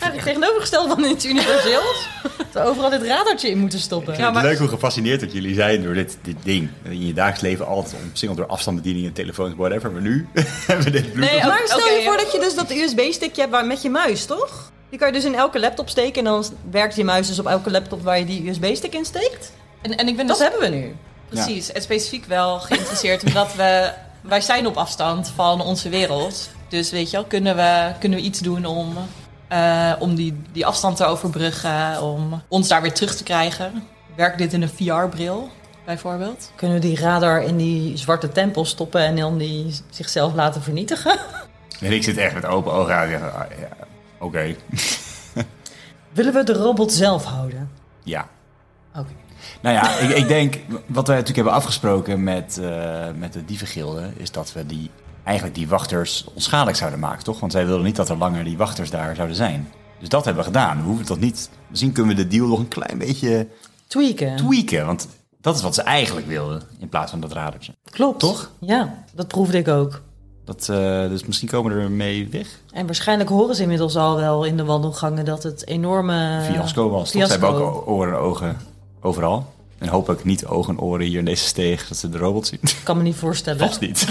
S7: Eigenlijk tegenovergesteld van iets universeels. dat we overal dit radartje in moeten stoppen.
S2: Ja, maar
S1: Leuk hoe gefascineerd dat jullie zijn door dit, dit ding. In je dagelijks leven altijd omsingeld door afstandsbedieningen, telefoons, whatever. Maar nu hebben we dit Bluetooth.
S2: Nee,
S7: maar stel je
S2: Oké.
S7: voor dat je dus dat USB-stickje hebt waar- met je muis, toch? Die kan je dus in elke laptop steken en dan werkt je muis dus op elke laptop waar je die USB-stick in steekt.
S2: en, en ik ben
S7: Dat
S2: dus
S7: hebben we nu.
S2: precies en specifiek wel geïnteresseerd omdat we wij zijn op afstand van onze wereld. Dus weet je wel, kunnen we, kunnen we iets doen om, eh, om die, die afstand te overbruggen, om ons daar weer terug te krijgen? Werkt dit in een VR-bril bijvoorbeeld?
S7: Kunnen we die radar in die zwarte tempel stoppen en dan die zichzelf laten vernietigen?
S2: oh.
S1: En ik zit echt met open ogen aan. en zeg, ah, ja, Oké.
S7: Willen we de robot zelf houden?
S1: Ja.
S7: Oké.
S1: Nou ja, ik, ik denk, wat wij natuurlijk hebben afgesproken met, eh, met de dievengilde, is dat we die, eigenlijk die wachters onschadelijk zouden maken, toch? Want zij wilden niet dat er langer die wachters daar zouden zijn. Dus dat hebben we gedaan. We hoeven dat niet. Misschien kunnen we de deal nog een klein beetje
S7: Tweaken.
S1: tweaken. Want dat is wat ze eigenlijk wilden, in plaats van dat radertje.
S7: Klopt.
S1: Toch?
S7: Ja, dat proefde ik ook.
S1: Dat, eh, dus misschien komen we er mee weg.
S7: En waarschijnlijk horen ze inmiddels al wel in de wandelgangen dat het enorme...
S1: Fiasco was. Toch? Ze
S7: fiasco.
S1: hebben ook o- oren en ogen overal. En hopelijk niet ogen en oren hier in deze steeg, dat ze de robot zien.
S7: Ik kan me niet voorstellen.
S1: Vast niet.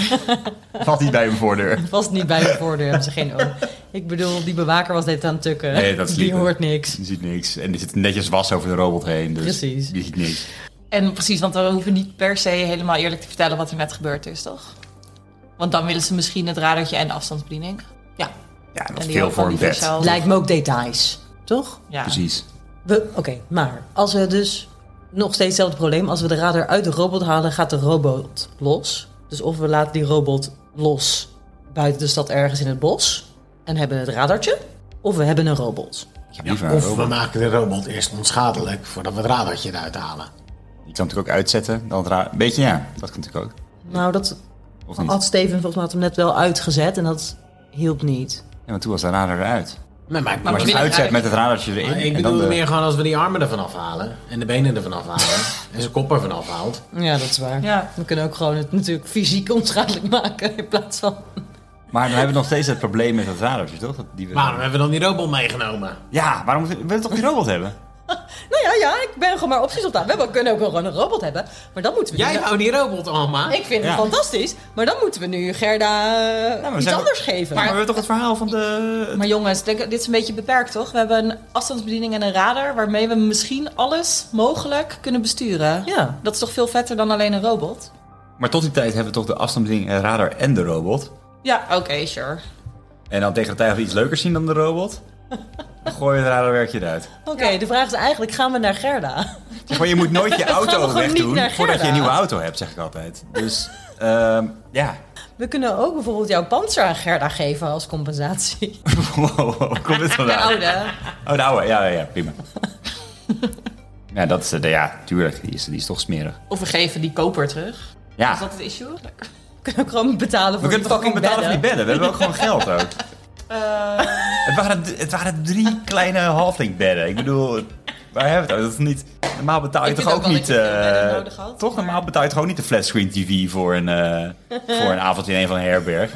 S1: Valt niet bij mijn voordeur.
S7: Vast niet bij de voordeur, hebben ze geen oog. Ik bedoel, die bewaker was dit aan het tukken.
S1: Nee, dat is
S7: die
S1: liever.
S7: hoort niks.
S1: Je ziet niks. En er zit netjes was over de robot heen. Dus
S7: Precies.
S1: Je ziet niks.
S2: En precies, want we hoeven niet per se helemaal eerlijk te vertellen wat er net gebeurd is, toch? Want dan willen ze misschien het radertje en de afstandsbediening. Ja.
S1: Ja,
S2: En
S1: dat is
S2: die
S1: veel
S2: ook van
S1: voor een
S2: die
S1: bed.
S2: versel.
S7: Lijkt me ook details, toch?
S2: Ja.
S1: Precies.
S7: We- Oké, maar als we dus nog steeds hetzelfde probleem, als we de radar uit de robot halen, gaat de robot los. Dus of we laten die robot los buiten de stad ergens in het bos en hebben het radartje, of we hebben een robot.
S1: Liever een
S5: Of we
S1: robot.
S5: maken de robot eerst onschadelijk voordat we het radartje eruit halen.
S1: Je kan het natuurlijk ook uitzetten. Dan het raar... Beetje, ja. Dat kan natuurlijk ook.
S7: Nou, dat
S1: Of niet?
S7: had Steven volgens mij had hem net wel uitgezet en dat hielp niet.
S1: Ja, want toen was de radar eruit.
S5: Nee, maar,
S1: Maar als je het
S2: willen
S1: uitzet
S2: raar-
S1: met het radertje erin.
S5: Maar ik
S1: en dan
S5: bedoel
S1: de-
S5: meer gewoon als we die armen ervan afhalen. En de benen ervan afhalen. en zijn kop ervan afhaalt.
S7: Ja, dat is waar.
S2: Ja.
S7: We kunnen ook gewoon het natuurlijk fysiek onschadelijk maken in plaats van...
S1: Maar dan hebben we nog steeds het probleem met het radertje, toch? Dat die we...
S5: Waarom hebben we dan die robot meegenomen?
S1: Ja, waarom moeten we willen toch die robot hebben?
S7: Nou ja, ja, ik ben gewoon maar opties op dat. We kunnen ook wel gewoon een robot hebben, maar dan moeten we...
S5: Jij
S7: niet-
S5: houdt die robot, Alma.
S7: Ik vind
S1: Ja.
S7: het fantastisch, maar dan moeten we nu Gerda eh,
S1: maar
S7: iets
S1: zijn we-
S7: anders geven.
S1: Maar we hebben toch het verhaal van de...
S2: Maar jongens, denk- dit is een beetje beperkt, toch? We hebben een afstandsbediening en een radar waarmee we misschien alles mogelijk kunnen besturen.
S7: Ja.
S2: Dat is toch veel vetter dan alleen een robot?
S1: Maar tot die tijd hebben we toch de afstandsbediening, en radar en de robot.
S2: Ja, oké, sure.
S1: En dan tegen de tijd dat we iets leukers zien dan de robot... dan gooi je het radarwerkje eruit.
S7: Oké, de vraag is eigenlijk, gaan we naar Gerda?
S1: Zeg maar, je moet nooit je
S7: gaan we
S1: auto
S7: gewoon niet
S1: wegdoen
S7: naar
S1: voordat je een
S7: Gerda.
S1: nieuwe auto hebt, zeg ik altijd. Dus, ehm, ja.
S7: We kunnen ook bijvoorbeeld jouw panzer aan Gerda geven als compensatie.
S1: Wow, wow, komt dit
S2: De
S1: vandaan?
S2: oude.
S1: Oh, de oude. Ja, ja, ja, prima. Ja, dat is, eh, de- ja, tuurlijk. Die is, die is toch smerig.
S2: Of we geven die koper terug. Is
S1: Ja,
S2: dat het issue?
S7: We kunnen ook gewoon betalen
S1: we
S7: voor
S1: kunnen
S7: die
S1: fucking betalen voor die bedden.
S7: bedden.
S1: We hebben ook gewoon geld ook.
S2: Eh.
S1: Het, waren, d- het waren drie kleine halflingbedden. Ik bedoel, waar hebben we het over? Dat is niet... Normaal betaal je
S2: Ik
S1: toch
S2: vind
S1: ook
S2: ook wel
S1: niet...
S2: dat je veel
S1: eh,
S2: bedden nodig had,
S1: toch,
S2: maar-
S1: normaal betaal je toch ook niet de flatscreen TV voor een, eh, voor een avondje in een van een herberg.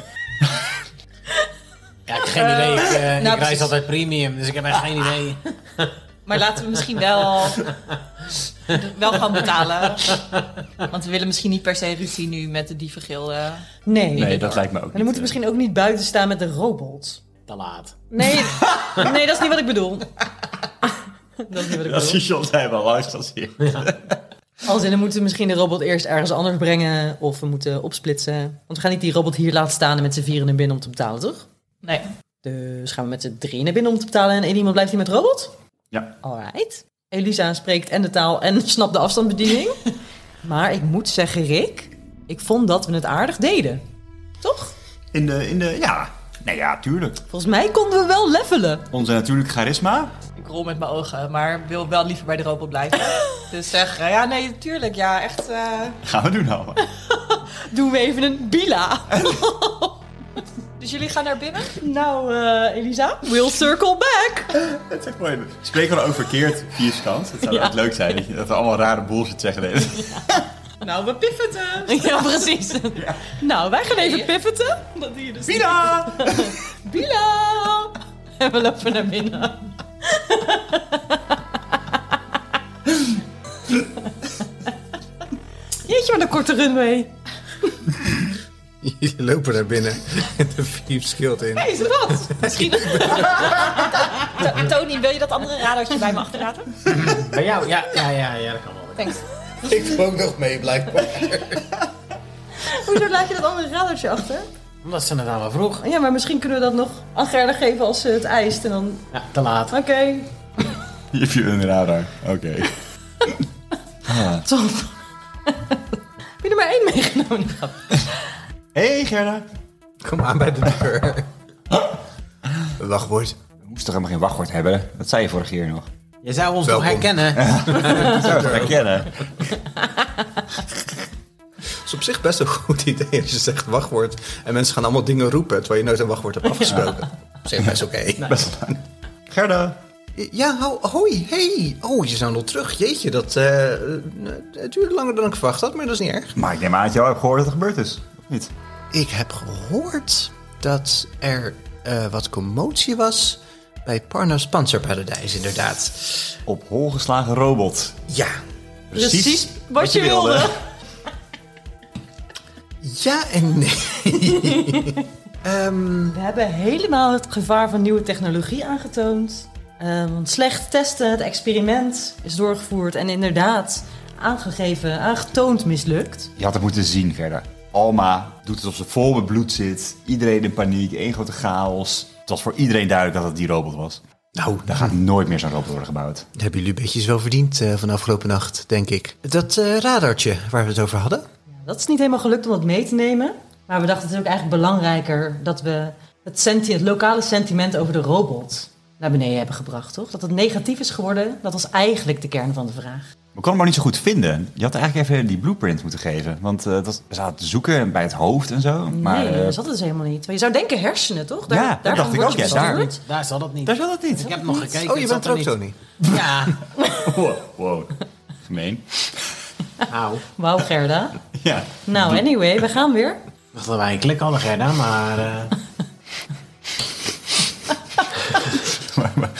S5: Ja, ik heb geen idee. Ik, eh, ik reis
S2: precies.
S5: altijd premium, dus ik heb echt geen idee.
S2: Maar laten we misschien wel, wel gaan betalen. Want we willen misschien niet per se ruzie nu met de dievengilden.
S7: Nee.
S1: Nee, dat lijkt me ook
S7: Maar dan moeten we
S1: niet,
S7: misschien ook niet buiten staan met een robot.
S5: Te laat.
S7: Nee, nee dat is niet wat ik bedoel. Dat is niet wat ik
S1: eh, Als je
S7: bedoel.
S1: soms wel langs dan zie je.
S7: Als in, dan moeten we misschien de robot eerst ergens anders brengen. Of we moeten opsplitsen. Want we gaan niet die robot hier laten staan en met z'n vieren naar binnen om te betalen, toch?
S2: Nee.
S7: Dus gaan we met z'n drie naar binnen om te betalen en één iemand blijft hier met robot?
S1: Ja.
S7: Alright. Elisa spreekt en de taal en snapt de afstandsbediening. maar ik moet zeggen, Rick, ik vond dat we het aardig deden. Toch?
S1: In de, in de, ja. Nou ja, tuurlijk.
S7: Volgens mij konden we wel levelen.
S1: Onze natuurlijke charisma.
S2: Ik rol met mijn ogen, maar wil wel liever bij de robot blijven. dus zeg, eh, ja, nee, tuurlijk, ja, echt. eh,
S1: Gaan we doen allemaal.
S7: Doen we even een bila.
S2: Dus jullie gaan naar binnen?
S7: nou, eh, Elisa, we'll circle back.
S1: Het is echt mooi. Spreek wel ook verkeerd, vierskant. Het zou echt leuk zijn dat je- dat we allemaal rare bullshit zeggen. de hele tijd.
S2: Nou, we pivoten.
S7: ja, precies. Nou, wij gaan even pivoten.
S2: Dat doe je dus.
S1: Pina!
S7: Bila! En we lopen naar binnen. Jeetje, wat een korte runway.
S11: Jullie lopen daar binnen en de viep scheelt in.
S2: Is dat? Misschien. To- Tony, wil je dat andere radartje bij me achterlaten?
S5: Bij jou? Ja, ja, ja, ja dat kan wel.
S11: Ik wil ook nog mee, blijkbaar.
S7: Hoezo laat je dat andere radertje achter?
S5: Omdat ze het aan me vroeg.
S7: Oh Ja, maar misschien kunnen we dat nog aan Gerda geven als ze het eist. En dan,
S5: Ja, te laat.
S7: oké,
S1: Hier heb je een radar. Oké.
S7: top. Heb je er maar één meegenomen?
S1: Hey Gerda.
S6: Kom aan bij de deur.
S11: Wachtwoord.
S1: We moesten toch helemaal geen wachtwoord hebben? Dat zei je vorige keer nog.
S5: Je zou ons
S11: Welkom.
S5: toch herkennen?
S1: Zou je het herkennen?
S11: is op zich best een goed idee als je zegt wachtwoord. En mensen gaan allemaal dingen roepen terwijl je nooit een wachtwoord hebt afgesproken. Op zich best oké.
S1: Best wel. Gerda.
S11: Ja, ho- hoi, hey. Oh, je zou nog terug. Jeetje, dat eh, eh, het duurde langer dan ik verwacht had, maar dat is niet erg.
S1: Maar ik neem aan dat je al hebt gehoord wat er gebeurd is. Of niet?
S6: Ik heb gehoord dat er eh, wat commotie was bij Parnas Panzerparadijs, inderdaad.
S1: Op hol geslagen robot.
S6: Ja.
S1: Precies,
S2: Precies wat je wilde.
S6: Ja en nee. Ehm,
S7: We hebben helemaal het gevaar van nieuwe technologie aangetoond. Eh, want slecht testen, het experiment is doorgevoerd en inderdaad aangegeven, aangetoond mislukt.
S1: Je had het moeten zien verder. Alma doet alsof ze vol met bloed zit. Iedereen in paniek, één grote chaos. Het was voor iedereen duidelijk dat het die robot was.
S6: nou,
S1: Daar gaat nooit meer zo'n robot worden gebouwd.
S6: Dat hebben jullie beetjes wel verdiend eh, van de afgelopen nacht, denk ik. Dat eh, radartje waar we het over hadden. Oh,
S7: Dat is niet helemaal gelukt om dat mee te nemen. Maar we dachten het is ook eigenlijk belangrijker dat we het, senti- het lokale sentiment over de robot naar beneden hebben gebracht, toch? Dat het negatief is geworden, dat was eigenlijk de kern van de vraag.
S1: We konden hem maar niet zo goed vinden. Je had eigenlijk even die blueprint moeten geven. Want eh, dat, we zaten te zoeken bij het hoofd en zo. Maar
S7: nee,
S1: eh,
S7: dat zat het dus helemaal niet. Je zou denken hersenen, toch?
S1: Ja, dat
S7: daarvan
S1: dacht ik
S7: word je
S1: ook, ja, daar.
S7: bestuurd.
S5: Dus Daar zat het niet.
S1: daar zat het niet.
S5: ik heb nog gekeken.
S6: oh, je
S5: het zat
S6: bent er ook,
S5: niet.
S6: Tony.
S5: Ja.
S1: Wow, wow. gemeen.
S5: Nou,
S7: Wauw, Gerda.
S1: Ja.
S7: Nou, anyway, we gaan weer.
S5: dacht dat wij een klik hadden, Gerda, maar... eh,
S1: Maar- maar-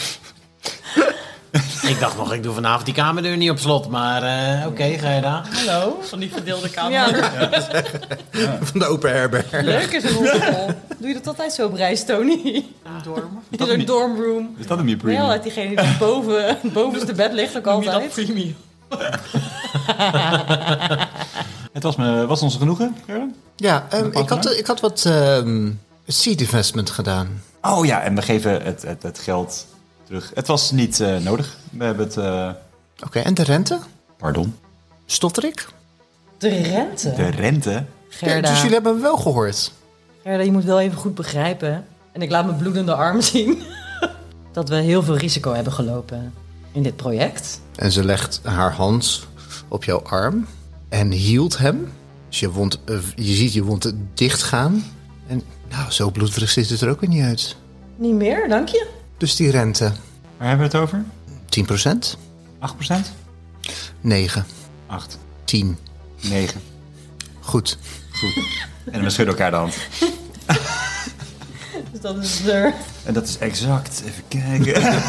S5: ik dacht nog, ik doe vanavond die kamerdeur niet op slot, maar eh, oké, Gerda.
S2: Hallo, van die verdeelde kamer.
S7: Ja,
S11: Van de open herberg.
S7: leuk is een rondrol. Doe je dat altijd zo op reis, Tony?
S2: Dorm.
S7: In een dormroom.
S1: Is dat hem je
S7: Ben je al
S1: premium?
S7: uit diegene die boven, bovenste bed ligt ook altijd?
S2: premium.
S1: Het was, me, was ons een genoegen, Gerda?
S6: Ja, ehm, ik, had, ik had wat ehm, seed investment gedaan.
S1: Oh ja, en we geven het, het, het geld terug. Het was niet eh, nodig. We hebben het... eh,
S6: Oké, en de rente?
S1: pardon?
S6: Stotter ik?
S7: De rente.
S1: De rente?
S6: Ja,
S7: Gerda.
S6: dus jullie hebben hem wel gehoord.
S7: Gerda, je moet wel even goed begrijpen. En ik laat mijn bloedende arm zien. dat we heel veel risico hebben gelopen in dit project.
S6: En ze legt haar hand op jouw arm en hield hem. Dus je, wond, eh, je ziet je wond dichtgaan. En nou, zo bloederig ziet het er ook weer niet uit.
S7: Niet meer, dank je.
S6: Dus die rente,
S1: Waar hebben we het over?
S6: 10%?
S1: 8%?
S6: 9,
S1: 8,
S6: 10.
S1: 9.
S6: Goed.
S1: En we schudden elkaar de hand.
S7: Dus dat is er
S1: En dat is exact. Even kijken.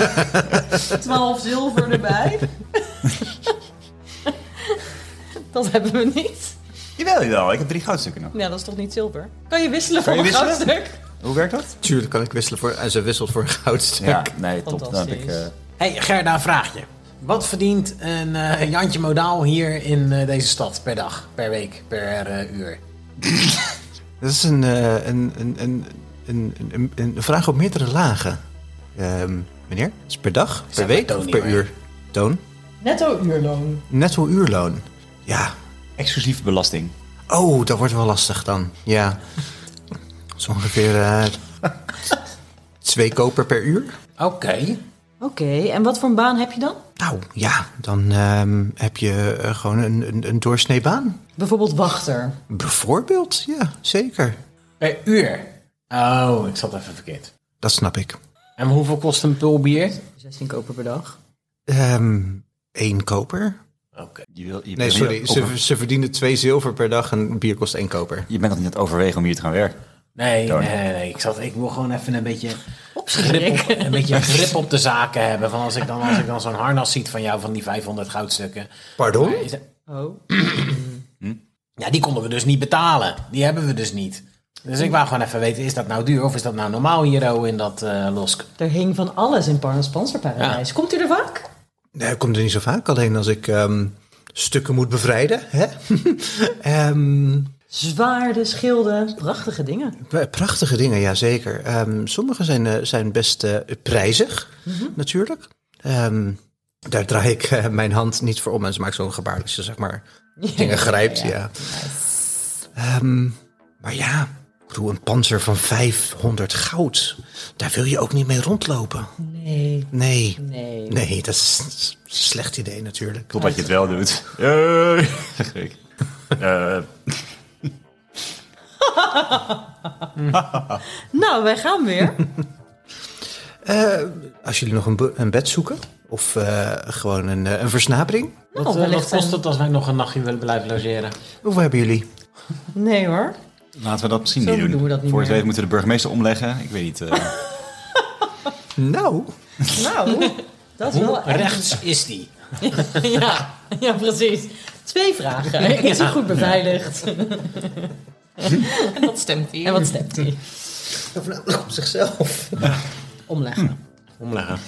S7: 12 zilver erbij. dat hebben we niet.
S1: jawel, jawel. Ik heb drie goudstukken nog.
S7: Nou, dat is toch niet zilver? Kan je wisselen
S1: Kan
S7: voor
S1: je
S7: een
S1: wisselen?
S7: goudstuk?
S1: Hoe werkt dat?
S6: Tuurlijk kan ik wisselen voor... En ze wisselt voor een goudstuk.
S1: Ja, nee, top. Dan heb
S7: Fantastisch.
S1: ik, eh,
S5: hey, Gerda, een vraagje. Wat verdient een eh, Jantje Modaal hier in eh, deze stad per dag, per week, per eh, uur?
S6: Dat is een, eh, een, een, een, een, een, een vraag op meerdere lagen. Ehm, meneer, is het per dag, per
S5: maar
S6: week
S5: Toon
S6: of
S5: niet
S6: per
S5: meer.
S6: uur? Toon?
S7: Netto uurloon.
S6: Netto uurloon. Ja,
S1: exclusief belasting.
S6: Oh, dat wordt wel lastig dan. Ja. Zo ongeveer eh, twee koper per uur.
S5: Oké.
S7: Oké, en wat voor een baan heb je dan?
S6: Nou ja, dan ehm, heb je eh, gewoon een, een, een doorsnee baan.
S7: Bijvoorbeeld wachter.
S6: Bijvoorbeeld, ja, zeker.
S5: Per uur? Oh, ik zat even verkeerd.
S6: Dat snap ik.
S5: En hoeveel kost een pul bier?
S7: 16 koper per dag.
S6: Eén Ehm, koper?
S5: Oké.
S1: Je, wil, je,
S6: Nee,
S1: bent
S6: sorry.
S1: niet
S6: Ze,
S1: over-
S6: ze verdienen twee zilver per dag en bier kost één koper.
S1: je bent nog niet aan het overwegen om hier te gaan werken.
S5: Nee,
S1: Toon.
S5: nee, nee. Ik, zat, ik wil gewoon even een beetje grip
S7: Opschrik.
S5: op, een beetje grip op de zaken hebben. Van als ik dan, als ik dan zo'n harnas ziet van jou, van die 500 goudstukken.
S6: Pardon?
S5: Maar is dat-
S7: Oh.
S5: Ja, die konden we dus niet betalen. Die hebben we dus niet. Dus ik wou gewoon even weten, is dat nou duur of is dat nou normaal hier oh, in dat eh, Losk?
S7: Er hing van alles in Parnas Panzerparadijs. Komt u er vaak?
S6: Nee, dat komt er niet zo vaak. Alleen als ik ehm, stukken moet bevrijden. Hè? Ehm,
S7: Zwaarden, schilden, prachtige dingen.
S6: P- Eh, Prachtige dingen, ja zeker. Ehm, sommige zijn, eh, zijn best eh, prijzig, natuurlijk. Ehm, daar draai ik eh, mijn hand niet voor om. En ze maakt zo'n gebaar dat ze zeg maar dingen grijpt. Ja, Ehm, maar ja, ik bedoel, een panzer van 500 goud. Daar wil je ook niet mee rondlopen.
S7: Nee,
S6: Nee,
S7: nee.
S6: nee, dat is dat is een slecht idee natuurlijk.
S1: Totdat je het wel doet. Hey, zeg ik. Eh,
S7: Nou, wij gaan weer.
S6: Eh, als jullie nog een, be- een bed zoeken of eh, gewoon een, eh, een versnapering.
S7: Nou,
S5: wat, eh, wat
S7: wellicht
S5: kost
S7: een-
S5: het als wij nog een nachtje willen blijven logeren?
S6: Hoeveel hebben jullie?
S7: Nee hoor.
S1: Laten we dat misschien
S4: Zo
S1: niet doen.
S4: doen we dat niet
S1: Voor het
S4: meer.
S1: weten moeten we de burgemeester omleggen. Ik weet niet. eh,
S11: Nou,
S4: Nou, dat is wel...
S5: Hoe rechts is die?
S7: ja, ja, precies.
S4: Twee vragen.
S7: Is hij goed beveiligd?
S2: En dat stemt hier.
S7: En wat stemt hij?
S11: voornamelijk op zichzelf.
S7: Omleggen.
S5: Omleggen.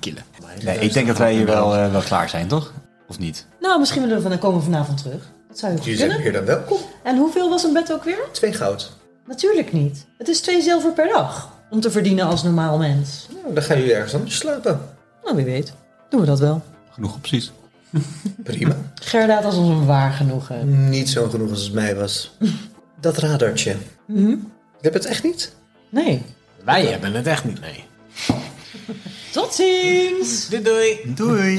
S1: killen. Nee, ik denk dat wij hier wel, eh, wel klaar zijn, toch? Of niet?
S7: Nou, misschien willen we dan komen we vanavond terug. Dat zou je goed
S11: Jullie zijn
S7: kunnen.
S11: hier dan welkom.
S7: En hoeveel was een bed ook weer?
S11: Twee goud.
S7: Natuurlijk niet. Het is twee zilver per dag. Om te verdienen als normaal mens.
S11: Nou, dan gaan jullie ergens anders slapen.
S7: Nou, wie weet. Doen we dat wel.
S1: Genoeg opties.
S11: Prima.
S7: Gerda had als ons een waar genoegen.
S11: Niet zo genoeg als het mij was. Dat radartje.
S7: Mhm.
S11: Ik heb het echt niet.
S7: Nee.
S5: Wij hebben het echt niet, nee.
S7: Tot ziens!
S5: Doei doei.
S1: Doei.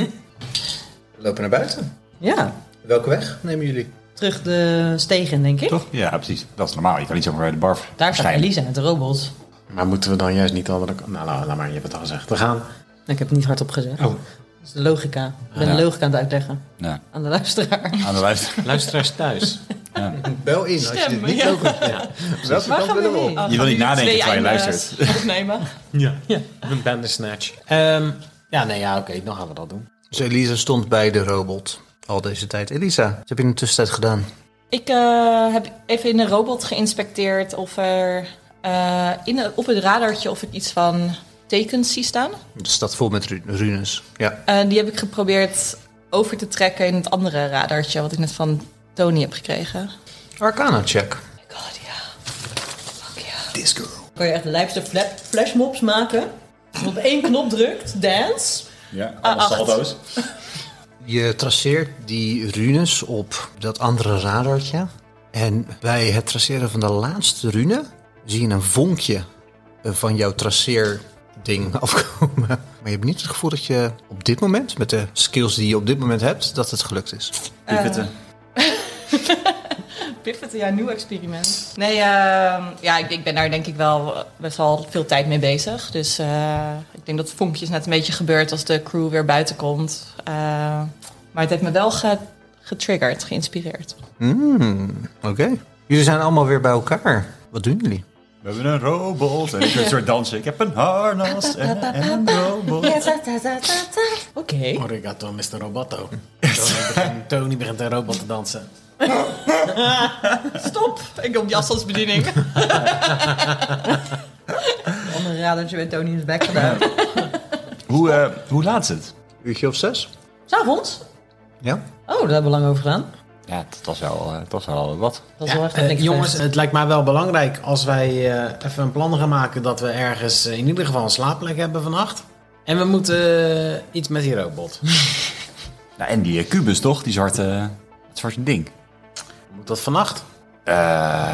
S11: We lopen naar buiten.
S7: Ja,
S11: Welke weg nemen jullie?
S7: terug de stegen, denk ik.
S1: Toch? Ja, precies. Dat is normaal. Je kan niet zomaar bij de bar
S7: Daar staat
S1: verschijnen.
S7: Elisa met de robot.
S10: Maar moeten we dan juist niet de andere kant? Nou, laat, laat maar, je hebt het al gezegd. We gaan.
S7: Ik heb het niet hardop gezegd.
S10: Oh.
S7: Dat is de logica. Ik ben
S1: Ja.
S7: de logica aan het uitleggen.
S1: Ja,
S7: Aan de luisteraar.
S1: aan de luister.
S5: Luisteraars thuis.
S11: Bel in als je dit niet dus ook Welke
S6: dus
S7: Waar
S11: kant
S7: gaan we
S11: willen we
S7: heen?
S11: op?
S2: Ah,
S1: Je wil niet
S2: nu
S1: nadenken
S2: twee
S1: terwijl je
S2: eindes
S1: luistert.
S2: Opnemen.
S5: Ja. ja. Een bandersnatch. Ehm ja, nee, ja, oké. dan gaan we dat doen.
S6: Dus Elisa stond bij de robot al deze tijd. Elisa, wat heb je in de tussentijd gedaan?
S2: Ik eh, heb even in de robot geïnspecteerd of er eh, in, het- op het radartje of ik iets van tekens zie staan.
S6: De stad vol met ru- runes. Ja.
S2: Eh, die heb ik geprobeerd over te trekken in het andere radartje wat ik net van Tony heb gekregen.
S6: Arcana check.
S2: God ja. Fuck ja.
S7: Kan je echt de lijpste fla- flashmobs maken? Als je Op één knop drukt, dance.
S1: Ja,
S2: allemaal Ah, acht. saldo's.
S6: Je traceert die runes op dat andere radartje. En bij het traceren van de laatste rune zie je een vonkje eh, van jouw traceerding afkomen. Maar je hebt niet het gevoel dat je op dit moment, met de skills die je op dit moment hebt, dat het gelukt is.
S1: Pivoten.
S2: Pivot, ja, nieuw experiment. Nee, ehm, ja, ik, ik ben daar denk ik wel best wel veel tijd mee bezig. Dus eh, ik denk dat het vonkje is net een beetje gebeurd als de crew weer buiten komt. Eh, maar het heeft me wel ge- getriggerd, geïnspireerd.
S6: Hmm, oké. Jullie zijn allemaal weer bij elkaar. Wat doen jullie?
S1: We hebben een robot. En ik doe een soort dansen. Ik heb een harnas en, en een robot.
S7: Oké.
S5: Arigato, Mr. Roboto. Tony begint, Tony begint een robot te dansen.
S2: Stop! Ik op die afstandsbediening.
S7: Onder een radertje met Tony in zijn bek gedaan.
S1: Hoe, eh, hoe laat is het?
S6: Uurtje of zes?
S7: S'avonds?
S6: Ja.
S7: Oh, daar hebben we lang over gedaan.
S1: Ja, dat was wel, eh, dat was wel wat.
S7: Dat is wel echt een
S5: Eh,
S7: dikke
S5: jongens,
S7: feest.
S5: het lijkt mij wel belangrijk als wij eh, even een plan gaan maken dat we ergens eh, in ieder geval een slaapplek hebben vannacht. En we moeten eh, iets met die robot.
S1: Nou, en die eh, kubus toch? Die zwarte, het zwarte ding.
S5: Moet dat vannacht?
S1: Eh,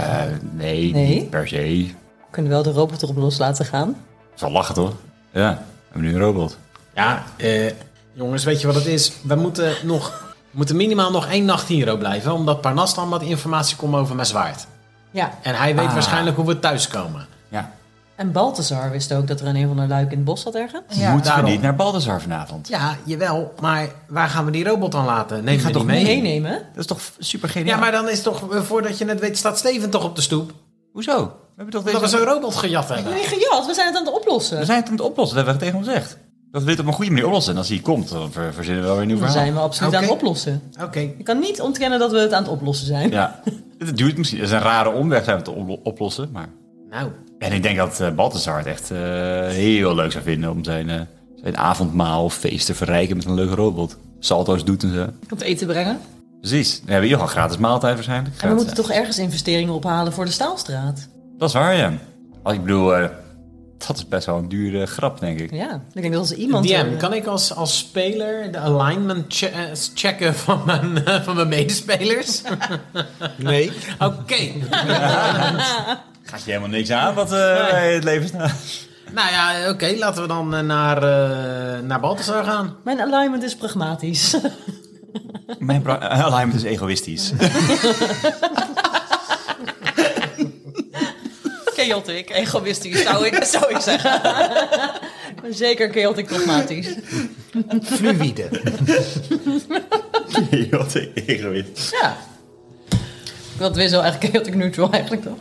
S1: nee,
S7: Nee?
S1: niet per se.
S7: We kunnen wel de robot erop los laten gaan.
S1: Zal lachen toch? Ja, we hebben nu een robot.
S5: Ja, eh, jongens, weet je wat het is? We moeten, nog, we moeten minimaal nog één nacht hier blijven, omdat Parnas dan wat informatie komt over mijn zwaard.
S7: Ja.
S5: En hij weet waarschijnlijk hoe we thuiskomen.
S1: Ja.
S7: En Balthazar wist ook dat er een een van de luiken in het bos zat ergens.
S1: Moeten
S5: daarom.
S1: we niet naar Baldassar vanavond?
S5: Ja, jawel, maar waar gaan we die robot dan laten? Neem je
S1: gaat
S5: die
S1: toch
S5: mee?
S7: Meenemen?
S1: Dat is toch super geniaal?
S5: Ja, maar dan is toch, eh, voordat je het weet, staat Steven toch op de stoep?
S1: Hoezo? We, hebben toch
S5: Dat we
S1: deze...
S5: zo'n robot gejat hebben.
S7: Nee, gejat. We zijn het aan het oplossen.
S1: we zijn het aan het oplossen, dat hebben we tegen hem gezegd. Dat we dit op een goede manier oplossen. En als hij komt, dan ver- verzinnen we wel weer een nieuw
S7: Dan
S1: verhaal.
S7: zijn we absoluut
S5: Oké.
S7: aan het oplossen.
S5: Oké.
S7: Je kan niet ontkennen dat we het aan het oplossen zijn.
S1: Ja, het duurt misschien. Het is een rare omweg zijn we te oplo- oplossen, maar...
S5: Nou,
S1: En ik denk dat eh Balthazar het echt eh, heel leuk zou vinden om zijn, eh, zijn avondmaal of feest te verrijken met een leuke robot. Salto's doet en zo.
S2: Om te eten brengen.
S1: Precies. Dan hebben we in ieder geval gratis maaltijd waarschijnlijk.
S7: En we
S1: Gratis, eh,
S7: moeten toch ergens investeringen ophalen voor de Staalstraat.
S1: Dat is waar, ja. Als ik bedoel, eh, dat is best wel een dure eh, grap, denk ik.
S7: Ja, ik denk dat als iemand...
S5: DM,
S7: eh,
S5: kan ik als, als speler de alignment che- eh, checken van mijn, eh, van mijn medespelers?
S6: Nee.
S5: Oké.
S1: Gaat je helemaal niks aan wat eh, bij het leven staat?
S5: Nou ja, oké, laten we dan eh, naar, eh naar Balthasar gaan.
S7: Mijn alignment is pragmatisch.
S1: Mijn pra- alignment is egoïstisch.
S2: Chaotic, egoïstisch zou ik, zou ik zeggen.
S7: Ik ben Zeker chaotic pragmatisch.
S6: Fluïde.
S1: Heel egoïstisch.
S7: Ja. Want Wizzo eigenlijk heel te neutral eigenlijk toch?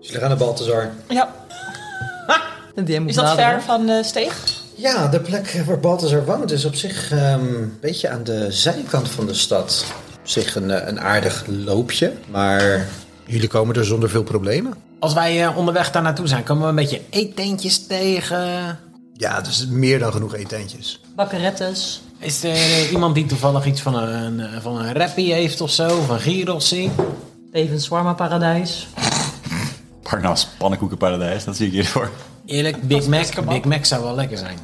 S6: Dus jullie gaan naar Balthazar.
S2: Ja. Is dat ver van de steeg?
S6: Ja, de plek waar Balthazar woont is op zich ehm, een beetje aan de zijkant van de stad. Op zich een, eh, een aardig loopje, maar jullie komen er zonder veel problemen.
S5: Als wij eh, onderweg daar naartoe zijn, komen we een beetje eetteentjes tegen.
S6: Ja, dus meer dan genoeg eetentjes.
S7: Bakkerettes.
S5: Is er eh, iemand die toevallig iets van een, eh, van een rappie heeft of zo? Van Girossi?
S7: Even Swarma Paradijs.
S1: Parnas, pannenkoekenparadijs, dat zie ik hiervoor.
S5: Eerlijk, Big Mac, Big Mac zou wel lekker zijn.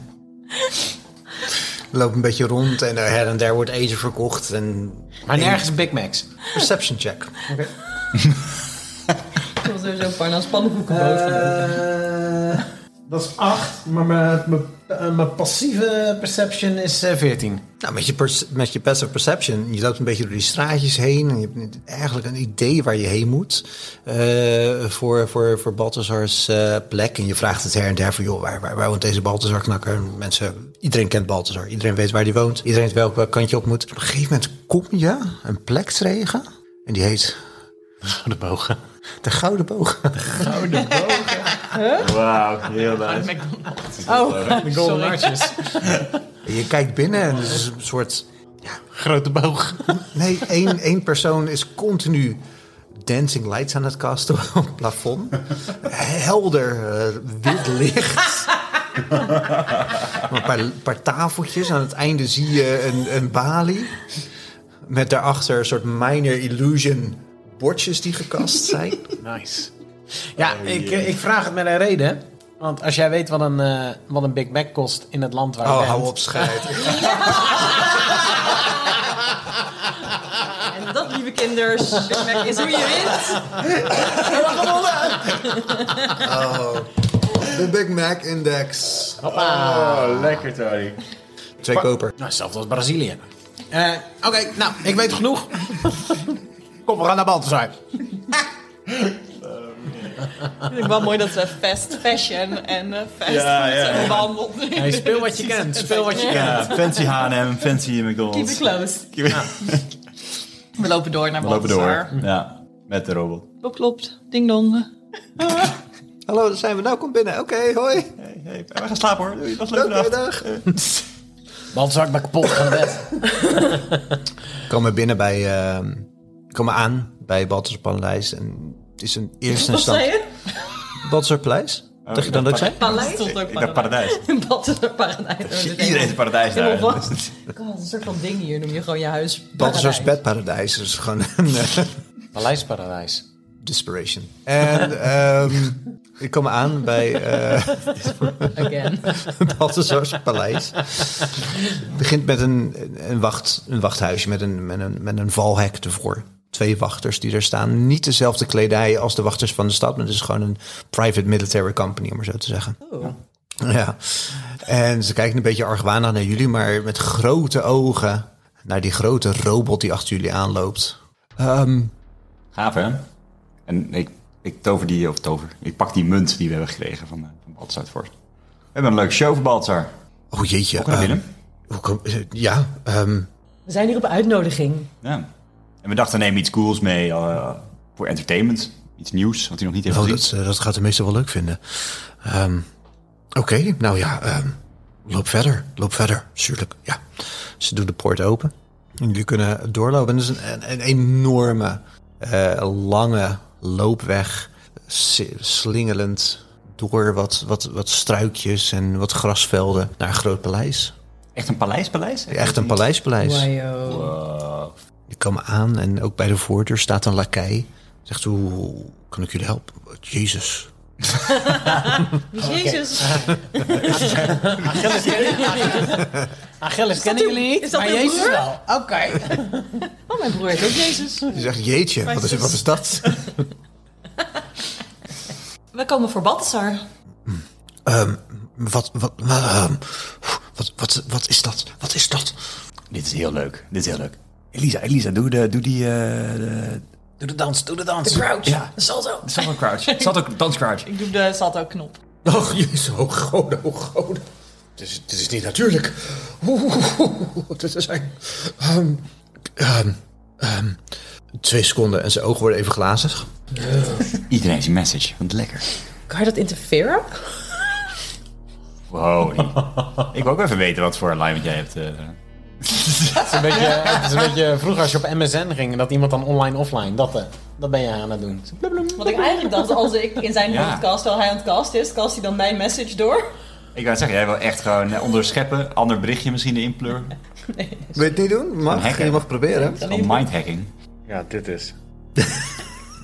S6: Loop een beetje rond en er her en daar wordt eten verkocht. En
S5: Maar nergens Big Macs.
S6: Perception check.
S7: Ik was sowieso Parnas pannenkoeken boven.
S5: Eh, dat is 8, maar mijn, passieve perception is eh, 14.
S6: Nou, met je, perce- met je passive perception, je loopt een beetje door die straatjes heen en je hebt niet- eigenlijk een idee waar je heen moet eh, voor, voor, voor Balthazar's eh, plek. En je vraagt het her en der van, joh, waar, waar, waar woont deze Balthazar knakker? Mensen, iedereen kent Balthazar, iedereen weet waar die woont, iedereen weet welk welk kant je op moet. Op een gegeven moment kom je een plek tegen en die heet
S5: Gouden bogen.
S6: de Gouden Boog.
S1: Wauw, heel nice.
S7: Oh,
S5: De Golden Arches.
S6: En je kijkt binnen en het is een soort
S5: Grote boog.
S6: Nee, één, één persoon is continu dancing lights aan het casten op het plafond. Helder eh, wit licht. Maar een paar, een paar tafeltjes. Aan het einde zie je een, een balie. Met daarachter een soort minor illusion bordjes die gekast zijn.
S5: Nice. Ja,
S6: Oh,
S5: ik, eh, ik vraag het met een reden. Want als jij weet wat een, eh, wat een Big Mac kost in het land waar je
S6: Oh,
S5: bent...
S6: hou op, scheid.
S7: en dat lieve kinders is hoe je wint.
S6: De Big Mac Index.
S1: Oh, lekker Tony.
S6: Twee koper.
S5: Nou, hetzelfde als Brazilië. Eh, Oké, nou, ik weet genoeg. Kom, we gaan naar Balthazar.
S2: Ik vind het wel mooi dat we fast fashion en eh, fast
S1: Ja,
S2: food
S1: ja,
S2: hebben
S1: ja.
S2: behandeld.
S5: Hey, speel wat je kent, speel wat je kent.
S1: Ja, fancy H&M, fancy
S7: Keep it
S1: McDonald's.
S7: close.
S2: We lopen door naar
S1: We lopen door.
S2: Balthazar.
S1: Ja, met de robot.
S2: Klopt, klopt. Ding dong.
S6: Hallo, daar zijn we. Nou, kom binnen. Oké, hoi.
S1: Hey, hey, we gaan slapen hoor. Doei, was leuk
S6: Oké,
S1: vandaag.
S6: dag.
S5: Balthazar, ik ben kapot, ik ga naar bed.
S6: komen binnen bij, ehm, komen aan bij Baltus Panlijs. En het is een eerste
S7: Wat zei
S6: instantie.
S7: je?
S6: Baltus Paleis?
S1: Oh,
S6: Dacht je dan dat ik zei?
S7: Paleis?
S1: Ik dacht paradijs.
S7: Dat is een paradijs.
S1: Iedereen is paradijs daar.
S7: Helemaal vast. God, een soort van ding hier noem je gewoon je huis.
S6: Baltus's
S7: paradijs.
S6: bedparadijs is gewoon een eh,
S5: Paleisparadijs.
S6: desperation. En ehm ik kom aan bij eh
S7: Again.
S6: Balthazar's paleis. Het begint met een, een, wacht, een wachthuisje met een, met, een, met een valhek ervoor. Twee wachters die er staan. Niet dezelfde kledij als de wachters van de stad, maar het is gewoon een private military company, om maar zo te zeggen. Ja. En ze kijken een beetje argwanend naar jullie, maar met grote ogen naar die grote robot die achter jullie aanloopt. Ehm,
S1: Gaaf hè? En ik, ik tover die, of tover, ik pak die munt die we hebben gekregen van, eh, van Baltzar het Forst. We hebben een leuke show voor Baltzar.
S6: oh jeetje.
S1: Kom naar
S6: ehm,
S1: binnen.
S6: hoe kom- eh, ja, ehm,
S7: We zijn hier op uitnodiging.
S1: Ja. En we dachten, neem iets cools mee eh, voor entertainment. Iets nieuws, wat hij nog niet heeft
S6: oh,
S1: gezien.
S6: dat, eh, dat gaat de meeste wel leuk vinden. Ehm, Oké, nou ja, ehm, loop verder. Loop verder, tuurlijk. Ja. Ze doen de poort open. En jullie kunnen doorlopen. En het is een, een, een enorme, eh, lange loopweg. si- Slingelend door wat, wat, wat struikjes en wat grasvelden naar een groot paleis.
S1: Echt een paleispaleis?
S6: Echt een paleispaleis.
S7: Wajo.
S6: Die komen aan en ook bij de voordeur staat een lakij. Zegt, hoe kan ik jullie helpen? Jezus,
S7: Jezus.
S5: Achilles, kennen- Achilles kennen jullie niet,
S7: is dat
S5: maar
S7: uw
S5: Jezus
S7: broer?
S5: wel. Oké.
S7: Oh, mijn broer heet ook Jezus.
S6: Die zegt, jeetje, wat is, wat is dat?
S2: We komen voor Balthazar.
S6: Ehm, wat, wat, wat, ehm, wat, wat, wat is dat? Wat is dat?
S1: Dit is heel leuk. Dit is heel leuk. Elisa, Elisa, doe, de, doe die... eh de...
S5: Doe de dans, doe de dans.
S2: Crouch.
S1: Ja.
S2: Salto.
S1: Salto crouch. Salto, dans crouch.
S2: Ik doe de salto knop.
S6: Och, jezus, oh god, oh god. Dit is, dit is niet natuurlijk. Oeh, dit is zijn... Ehm, ehm, ehm, Twee seconden en zijn ogen worden even glazig.
S1: Iedereen heeft een message, want lekker.
S12: Kan je dat interferen?
S1: Wow. ik wil ook even weten wat voor alignment jij hebt. eh.
S5: Het is, een beetje, eh, het is een beetje vroeger als je op MSN ging en dat iemand dan online offline. Dat, eh, dat ben je aan het doen.
S2: Wat ik eigenlijk dacht, als ik in zijn
S1: Ja.
S2: podcast, terwijl hij aan het cast is, cast hij dan mijn message door.
S1: Ik wou zeggen, jij wil echt gewoon eh, onderscheppen, ander berichtje misschien erin pleuren.
S6: Wil je het niet doen?
S1: Een
S6: Mag,
S1: hacker.
S6: je mag proberen.
S1: Gewoon Oh, mindhacking.
S13: Ja, dit is.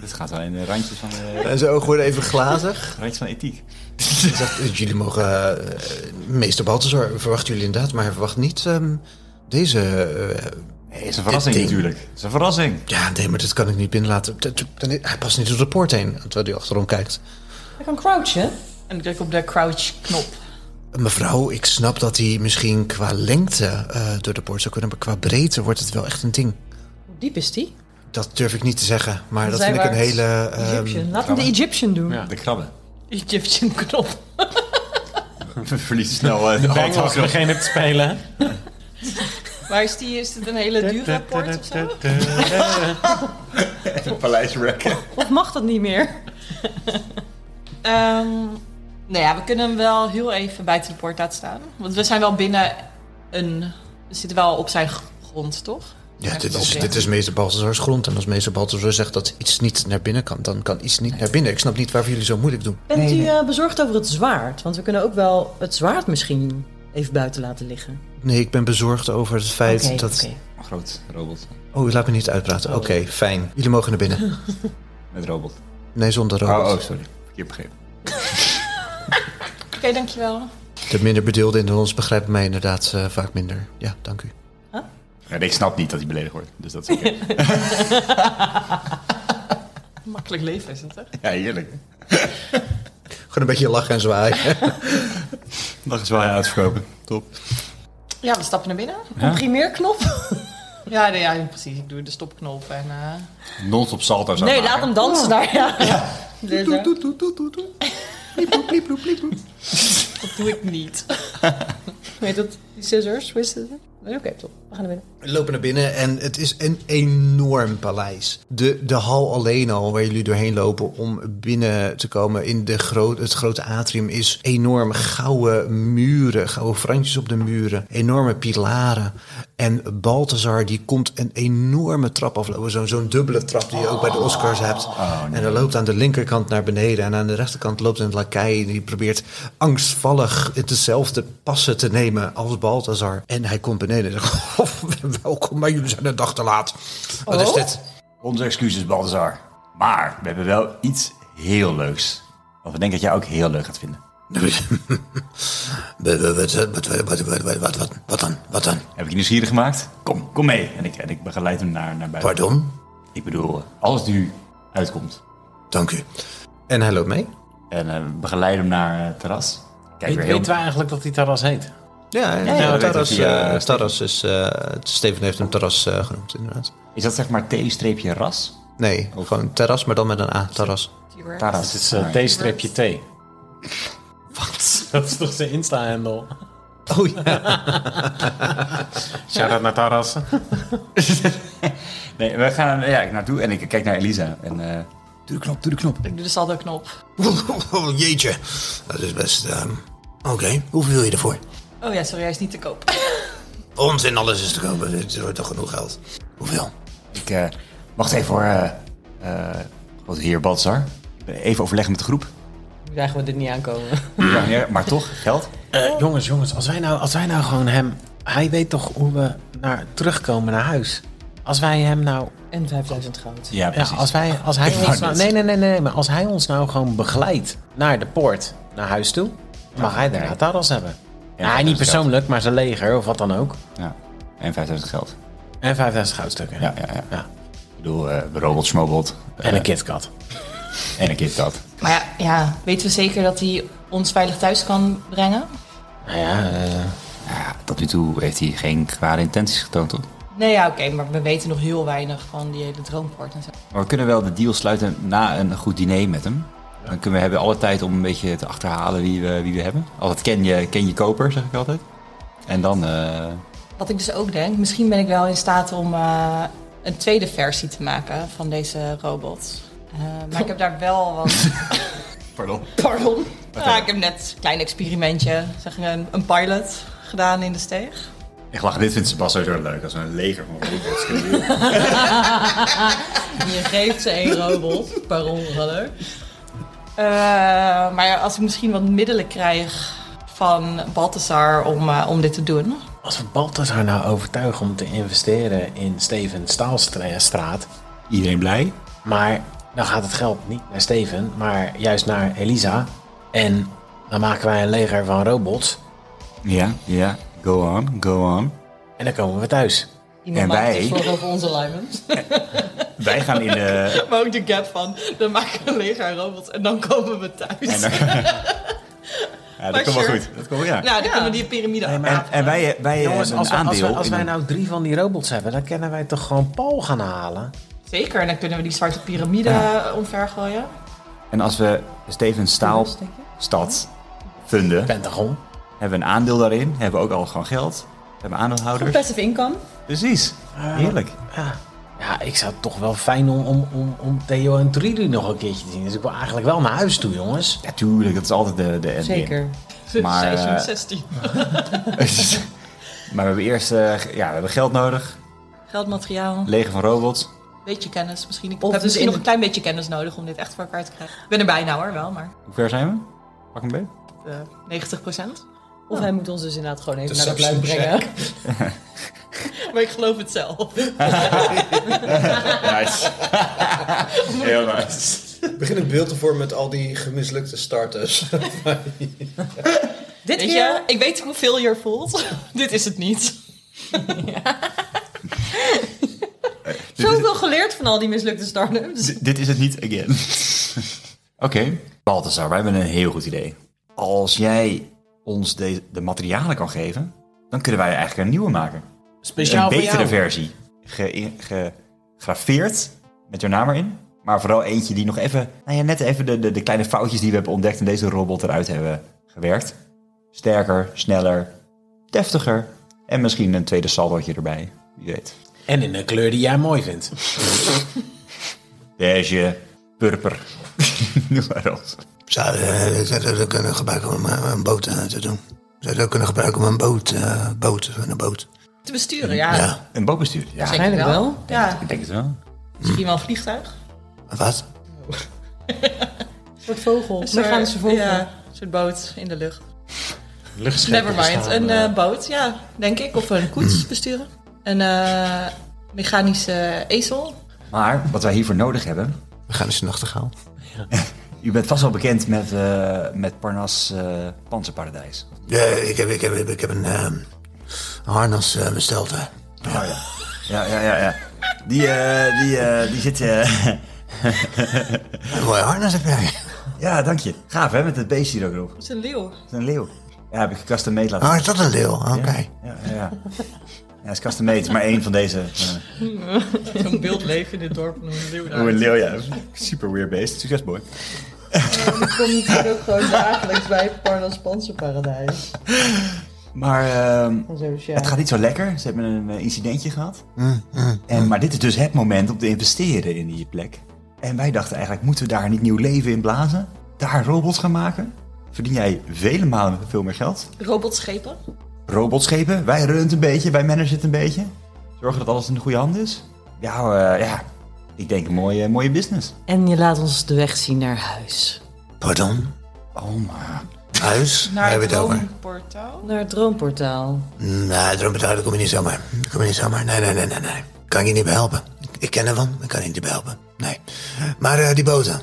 S1: Dit gaat wel in de randjes van de,
S6: En zijn ogen worden even glazig.
S1: randjes van ethiek.
S6: Hij zegt, eh, jullie mogen... eh, meester Balthazar verwachten jullie inderdaad, maar verwacht niet ehm, deze... eh,
S1: Nee, het is een verrassing
S6: Dit ding.
S1: natuurlijk. Het is een verrassing.
S6: ja, nee, maar dit kan ik niet binnenlaten. Dat- dat- Hij past niet door de poort heen, terwijl hij achterom kijkt.
S7: Hij kan crouchen.
S2: En ik druk op de crouch-knop.
S6: Mevrouw, ik snap dat hij misschien qua lengte eh, door de poort zou kunnen, maar qua breedte wordt het wel echt een ding.
S7: Hoe diep is die?
S6: Dat durf ik niet te zeggen, maar dat vind ik een
S7: Zijwaarts.
S6: hele... ehm,
S7: Egyptian. Laat hem de Egyptian doen.
S5: Ja.
S1: Ah, De krabben.
S2: Egyptian knop.
S1: We verliezen snel eh, de
S5: Bengals
S1: auto.
S5: beginnen te spelen.
S2: Maar is, die, is dit een hele dure poort of zo?
S7: Of mag dat niet meer?
S2: Ehm, nou ja, we kunnen hem wel heel even buiten de poort laten staan. Want we zijn wel binnen een... We zitten wel op zijn grond, toch?
S6: Ja, dit
S2: Echt
S6: is,
S2: oprecht.
S6: dit is meester Balthazar's grond. En als meester Balthazar zegt dat iets niet naar binnen kan, dan kan iets niet naar binnen. Ik snap niet waarvoor jullie zo moeilijk doen.
S7: Bent u eh, bezorgd over het zwaard? Want we kunnen ook wel het zwaard misschien even buiten laten liggen.
S6: Nee, ik ben bezorgd over het feit
S7: Oké,
S6: dat...
S7: oké.
S1: Een groot robot.
S6: Oh, laat me niet uitpraten. Oké, fijn. Jullie mogen naar binnen.
S1: Met robot.
S6: Nee, zonder
S1: Oh,
S6: robot.
S1: oh, sorry. Verkeerd begrepen.
S2: Oké, dankjewel.
S6: De minder bedeelden in ons begrijpen mij inderdaad eh, vaak minder. Ja, dank u.
S1: Ja, ik snap niet dat hij beledigd wordt, dus dat is oké.
S2: Makkelijk leven is het, hè?
S1: ja, heerlijk.
S6: Gewoon een beetje lachen en zwaaien.
S1: Dat is wel uitverkopen. Top.
S2: Ja, we stappen naar binnen.
S7: Primeerknop?
S2: Ja, nee, ja precies. Ik doe de stopknop en... eh,
S1: Non-stop salto's
S7: Nee,
S1: aanmaken.
S7: laat hem dansen daar. Ja.
S2: Doe, doe, doe, Dat doe ik niet.
S7: Weet dat? Die scissors? Hoe is het? Oké, top. We gaan naar binnen.
S6: We lopen naar binnen en het is een enorm paleis. De, de hal alleen al waar jullie doorheen lopen om binnen te komen in de groot, het grote atrium is enorm. Gouden muren, gouden frantjes op de muren, enorme pilaren. En Balthazar die komt een enorme trap aflopen, zo- zo'n dubbele trap die je ook bij de Oscars hebt. En dan loopt aan de linkerkant naar beneden en aan de rechterkant loopt een lakai die probeert angstvallig hetzelfde passen te nemen als Balthazar. En hij komt beneden en zegt, "Oh, welkom, maar jullie zijn een dag te laat. Wat is dit?
S1: Onze excuses, Balthazar. Maar we hebben wel iets heel leuks. Wat we denken dat jij ook heel leuk gaat vinden.
S6: Wat, wat, wat, wat, wat, wat, wat, wat, wat dan? Wat dan?
S1: Heb ik je nieuwsgierig gemaakt? Kom, kom mee. En ik, en ik begeleid hem naar, naar buiten.
S6: Pardon?
S1: Ik bedoel, als het nu uitkomt.
S6: Dank u. En hij loopt mee?
S1: En eh, begeleid hem naar eh, het terras. Kijk
S5: Weet-
S1: weer heel...
S5: Weten we eigenlijk dat die terras heet?
S6: Ja, ja,
S1: dat
S6: Taras,
S1: weet ik, ja.
S6: eh, Taras is... eh, Steven heeft hem Taras eh, genoemd, inderdaad.
S1: Is dat zeg maar T-ras?
S6: Nee, gewoon terras, maar dan met een A, Taras.
S1: Taras.
S5: Het is eh, D-streepje T. Wat? Dat is toch zijn Insta-handle?
S6: Oh ja.
S5: Shout-out naar Taras.
S1: Nee, we gaan eh, ja, ik naartoe en ik kijk naar Elisa. En, eh, doe de knop, doe de knop.
S2: Ik doe de saldo-knop.
S6: Oh, Jeetje. Dat is best... ehm, Oké, hoeveel wil je ervoor?
S2: Oh ja, sorry, hij is niet te koop.
S6: Onzin, alles is te kopen. Dit wordt toch genoeg geld? Hoeveel?
S1: Ik, eh, wacht even hoor. eh eh, wat hier, Baltzar. Even overleggen met de groep.
S12: Nu zagen we dit niet aankomen.
S1: Ja, meneer, maar toch, geld.
S5: jongens, jongens, als wij, nou, als wij nou gewoon hem... Hij weet toch hoe we naar, terugkomen naar huis? Als wij hem nou...
S7: En 5000 goud.
S1: Ja,
S5: Ja,
S1: precies.
S5: als, wij, als hij
S1: Ik wou
S5: ons nou...
S1: net
S5: Nee, nee, nee, nee. Maar als hij ons nou gewoon begeleidt naar de poort, naar huis toe... Mag hij daarna Taras hebben.
S1: En
S5: hij
S1: 5000
S5: niet
S1: geld.
S5: persoonlijk, maar zijn leger of wat dan ook.
S1: Ja. En 5000 geld.
S5: En 5000 goudstukken.
S1: Ja, ja, ja.
S5: Ja.
S1: Ik bedoel, eh robot, smobot.
S5: En een KitKat.
S1: En een kind dat.
S2: Maar ja, ja, weten we zeker dat hij ons veilig thuis kan brengen?
S5: Nou ja, eh,
S1: Ja, tot nu toe heeft hij geen kwade intenties getoond, toch?
S2: Nee, ja, oké, maar we weten nog heel weinig van die hele droompoort en zo.
S1: Maar we kunnen wel de deal sluiten na een goed diner met hem. Dan kunnen we hebben alle tijd om een beetje te achterhalen wie we, wie we hebben. Altijd ken je, ken je koper, zeg ik altijd. En dan... eh,
S2: Wat ik dus ook denk, misschien ben ik wel in staat om eh, een tweede versie te maken van deze robot. Eh, maar ik heb daar wel wat...
S1: Pardon.
S2: Pardon. Ja, ik heb net een klein experimentje, zeg maar, een, een pilot gedaan in de steeg.
S1: Ik lach, dit vindt Sebas sowieso leuk. Als we een leger van robots kunnen doen.
S7: Je geeft ze één robot per ongeluk.
S2: Eh, maar als ik misschien wat middelen krijg van Balthazar om, eh, om dit te doen.
S5: Als we Balthazar nou overtuigen om te investeren in Steven Staalstraat,
S1: Iedereen blij?
S5: maar dan gaat het geld niet naar Steven, maar juist naar Elisa. En dan maken wij een leger van robots
S1: Ja, ja. Go on, go on.
S5: en dan komen we thuis.
S1: En
S7: Iemand maakt
S1: wij?
S7: zich zorgen over onze alignment.
S1: Wij gaan in eh, de...
S2: Maar ook de gap van, dan maken we een leger aan robots en dan komen we thuis.
S1: En dan- ja, dat
S2: Maar
S1: komt wel
S2: sure.
S1: goed. Dat komt wel, ja.
S2: Nou, dan kunnen we die piramide
S5: Nee, maar- eh,
S2: afmaken.
S1: En, en wij, wij hebben
S5: Jongens, als,
S1: een
S5: we- als,
S1: aandeel.
S5: wij, als
S1: in
S5: wij
S1: een-
S5: nou drie van die robots hebben, dan kunnen wij toch gewoon Paul gaan halen?
S2: Zeker, en dan kunnen we die zwarte piramide
S1: Ja.
S2: eh, omvergooien.
S1: En als we Steven Staalstad funden,
S5: Pentagon.
S1: hebben we een aandeel daarin. Hebben we ook al gewoon geld. We hebben aandeelhouders.
S7: Passive income.
S1: Precies. Heerlijk.
S5: Ja. ja, ik zou het toch wel fijn om, om, om, om Theo en Trudy nog een keertje te zien. Dus ik wil eigenlijk wel naar huis toe, jongens.
S1: Ja, tuurlijk. Dat is altijd de, de end game.
S7: Zeker.
S1: Maar,
S2: Seizoen
S1: eh,
S2: 16.
S1: maar we hebben eerst eh, ge- ja, we hebben geld nodig.
S2: Geldmateriaal,
S1: Leger van robots.
S2: beetje kennis misschien. Ik heb
S7: Of dus
S2: misschien
S7: in-
S2: nog een klein beetje kennis nodig om dit echt voor elkaar te krijgen. Ik ben er bijna hoor, wel, maar
S1: Hoe ver zijn we? Pak een beet.
S2: eh 90 procent.
S7: Of hij moet ons dus inderdaad gewoon even
S11: De
S7: naar de pluim
S11: substance
S7: brengen.
S2: Maar ik geloof het zelf.
S1: Nice. Heel nice.
S11: Begin een beeld te vormen met al die gemislukte starters.
S7: Dit
S2: Weet je, ik weet hoeveel je er voelt. Dit is het niet.
S7: Zoveel geleerd van al die mislukte start-ups.
S1: D- dit is het niet again. Oké. Balthazar, wij hebben een heel goed idee. Als jij ons de, de materialen kan geven, dan kunnen wij eigenlijk een nieuwe maken.
S5: Speciaal
S1: een
S5: voor
S1: betere
S5: jou.
S1: versie. Ge- ge- Gegraveerd met jouw naam erin. Maar vooral eentje die nog even, nou ja, net even de, de, de kleine foutjes die we hebben ontdekt in deze robot eruit hebben gewerkt. Sterker, sneller, deftiger. En misschien een tweede saldootje erbij. Wie weet.
S5: En in een kleur die jij mooi vindt.
S1: Beige, purper. Noem maar op.
S6: Zou eh, zou dat ook kunnen gebruiken om eh, een boot eh, te doen? Zou dat ook kunnen gebruiken om een boot, eh boot, een boot?
S2: Te besturen, ja.
S6: Ja,
S1: Een bootbestuurder. Ja,
S7: Eigenlijk wel.
S2: Ja,
S1: ik denk het wel.
S2: misschien wel een vliegtuig.
S6: wat?
S7: Een soort vogel. We
S2: Een soort-
S7: gaan ze vogel.
S2: Ja, een soort boot in de lucht.
S5: Luchtschepen
S2: Never mind.
S5: bestaan,
S2: Een
S5: eh, Mm.
S2: eh, boot, ja, denk ik. Of een koets besturen. Een eh, mechanische ezel.
S1: Maar wat wij hiervoor nodig hebben.
S6: We gaan eens een nachtegaal.
S1: U bent vast wel bekend met, eh, met Parnas eh, Panzerparadijs.
S6: Ja, ik heb, ik heb, ik heb een ehm, harnas eh, besteld. hè.
S1: Oh ja. Ja, ja, ja. ja. Die, eh, die, eh, die zit. eh,
S6: Een mooi harnas heb jij.
S1: ja, dank je. Gaaf hè, met het beestje hier ook erop.
S2: Dat is een leeuw.
S1: Het is een leeuw. Ja, heb ik custom made laten.
S6: Oh, is dat een leeuw? Oké.
S1: Ja, ja, ja. Ja, het is custom made, het is maar één van deze. eh.
S2: Zo'n wild leven in dit dorp. Een leeuw daar.
S1: Hoe een leeuw, ja. Super weird beest. Succes, boy.
S7: Ik kom natuurlijk ook gewoon dagelijks bij Parnas Panzerparadijs.
S1: Maar ehm,
S7: En zo, dus ja.
S1: het gaat niet zo lekker. Ze hebben een eh, incidentje gehad. En, maar dit is dus het moment om te investeren in die plek. En wij dachten eigenlijk, moeten we daar niet nieuw leven in blazen? Daar robots gaan maken? Verdien jij vele malen veel meer geld?
S2: Robotschepen.
S1: Robotschepen, wij runnen het een beetje, wij managen het een beetje. Zorgen dat alles in de goede hand is. Ja, eh, ja. ik denk een mooie, mooie business.
S7: En je laat ons de weg zien naar huis.
S6: Pardon?
S1: Oh, maar...
S6: Huis? Waar
S2: Naar
S6: hebben
S2: het
S6: we het over?
S2: droomportaal.
S7: Naar het droomportaal.
S6: Nee, droombetalen kom je niet zomaar. Kom je niet zomaar. Nee, nee, nee, nee. nee. Kan ik je niet bij helpen. Ik, ik ken ervan, ik kan je niet bij helpen. Nee. Maar eh, die boten,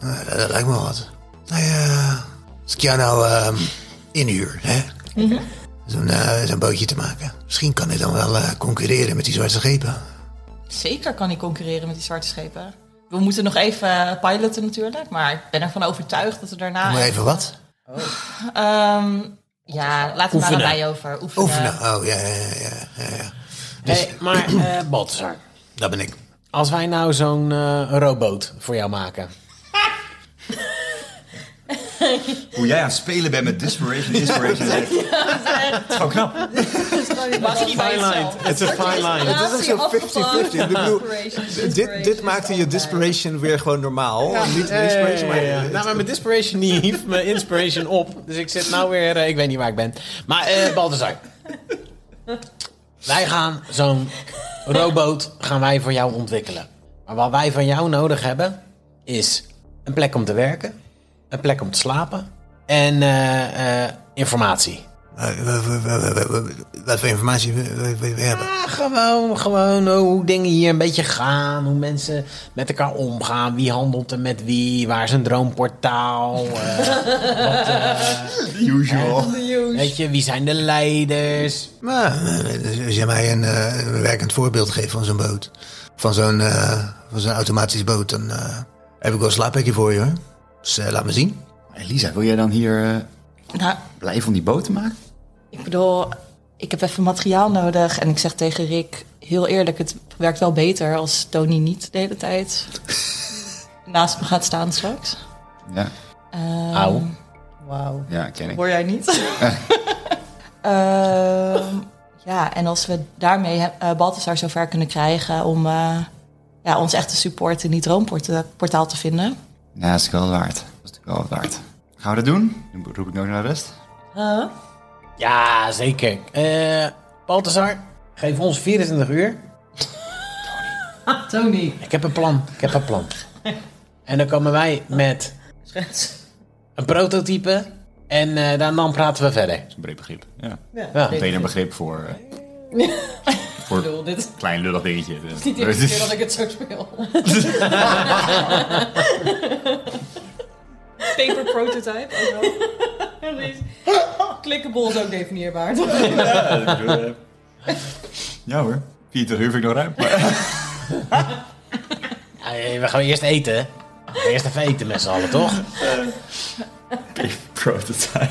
S6: Eh, dat, dat lijkt me wel wat. Nee, eh, als ik jou nou ehm, inhuur, hè? Zo'n eh, zo'n bootje te maken. Misschien kan ik dan wel eh, concurreren met die zwarte schepen.
S2: Zeker kan hij concurreren met die zwarte schepen. We moeten nog even eh, piloten natuurlijk. Maar ik ben ervan overtuigd dat we daarna...
S6: Moet even wat?
S2: Ehm, ja, laten we daar aan mij over. Oefenen.
S6: Oefenen. Oh, ja, ja, ja, ja, ja, ja.
S5: hey, maar eh Balthazar,
S6: Dat ben ik.
S5: als wij nou zo'n eh, robot voor jou maken.
S1: Hoe jij aan het spelen bent met Desperation, Inspiration. dat is gewoon knap.
S2: Was niet bij jezelf.
S14: Het is een fine line.
S6: Het is ook zo 50-50. Ik bedoel, dit, dit maakte je desperation weer gewoon normaal. Niet inspiration, maar...
S5: ja. Nou, maar mijn desperation niet hief mijn inspiration op. Dus ik zit nou weer, eh, ik weet niet waar ik ben. Maar eh Balthazar. Wij gaan zo'n robot gaan wij voor jou ontwikkelen. Maar wat wij van jou nodig hebben is een plek om te werken, een plek om te slapen en eh, eh, informatie.
S6: Eh, Wat voor informatie wil je hebben?
S5: Ja, Ah, gewoon, gewoon oh, hoe dingen hier een beetje gaan, hoe mensen met elkaar omgaan, wie handelt er met wie, waar is een droomportaal, eh,
S1: Usual.
S5: weet je, wie zijn de leiders.
S6: Maar, als jij mij een eh, werkend voorbeeld geeft van zo'n boot, van zo'n eh, van zo'n automatisch boot, dan eh, heb ik wel een slaaphekje voor je hoor. Dus eh, laat me zien.
S1: Elisa, wil jij dan hier eh,
S2: Nou,
S1: blijven om die boot te maken?
S2: ik bedoel, ik heb even materiaal nodig. En ik zeg tegen Rick, heel eerlijk, het werkt wel beter als Tony niet de hele tijd naast me gaat staan straks.
S1: Ja,
S2: Ehm,
S5: Au.
S2: Wauw.
S1: ja ken ik.
S2: Hoor jij niet? Ehm, ja, en als we daarmee eh Balthasar zover kunnen krijgen om eh, ja, ons echt te supporten in die droomportaal te vinden.
S1: Ja, dat is wel wat waard. Dat is natuurlijk wel wat waard. Gaan we dat doen? Dan roep ik nog naar de rest.
S5: Ja, zeker. Eh Balthazar, geef ons 24 uur.
S7: Tony.
S5: Ik heb een plan, ik heb een plan. En dan komen wij met een prototype en eh, dan, dan praten we verder.
S1: Dat is een breed begrip. Ja.
S5: Ja.
S1: Meteen een begrip voor, eh, voor een
S7: Dit is
S1: klein lullig dingetje. Het is
S7: niet de eerste keer dat ik het zo speel.
S15: Paper prototype. ook wel.
S7: Clickable is ook definieerbaar.
S1: eh. Ja hoor. 40 uur vind ik nog ruim. Maar,
S5: Eh, we gaan eerst eten. We gaan Eerst even eten met z'n allen, toch?
S1: prototype.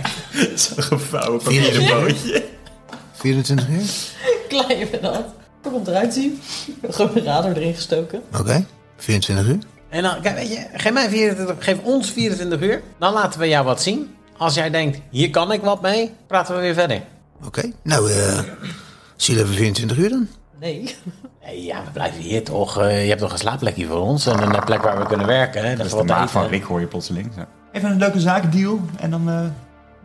S1: Zo'n gevouwen papieren bootje.
S6: 24 uur?
S7: Klein we dat. Hoe komt eruit zien? Gewoon een radar erin gestoken.
S6: Oké, 24 uur.
S5: En dan, kijk, weet je, geef, mij 24, geef ons 24 uur, dan laten we jou wat zien. Als jij denkt, hier kan ik wat mee, praten we weer verder.
S6: Oké, nou, eh zie je even 24 uur dan.
S7: Nee.
S5: Nee, ja, we blijven hier toch. eh, je hebt toch een slaapplekje voor ons en een eh, plek waar we kunnen werken. Hè? Dat
S1: Dat
S5: is
S1: is de
S5: wat
S1: maat van
S5: eten.
S1: Rick hoor je plotseling. Zo. Even een leuke zakendeal. En dan eh,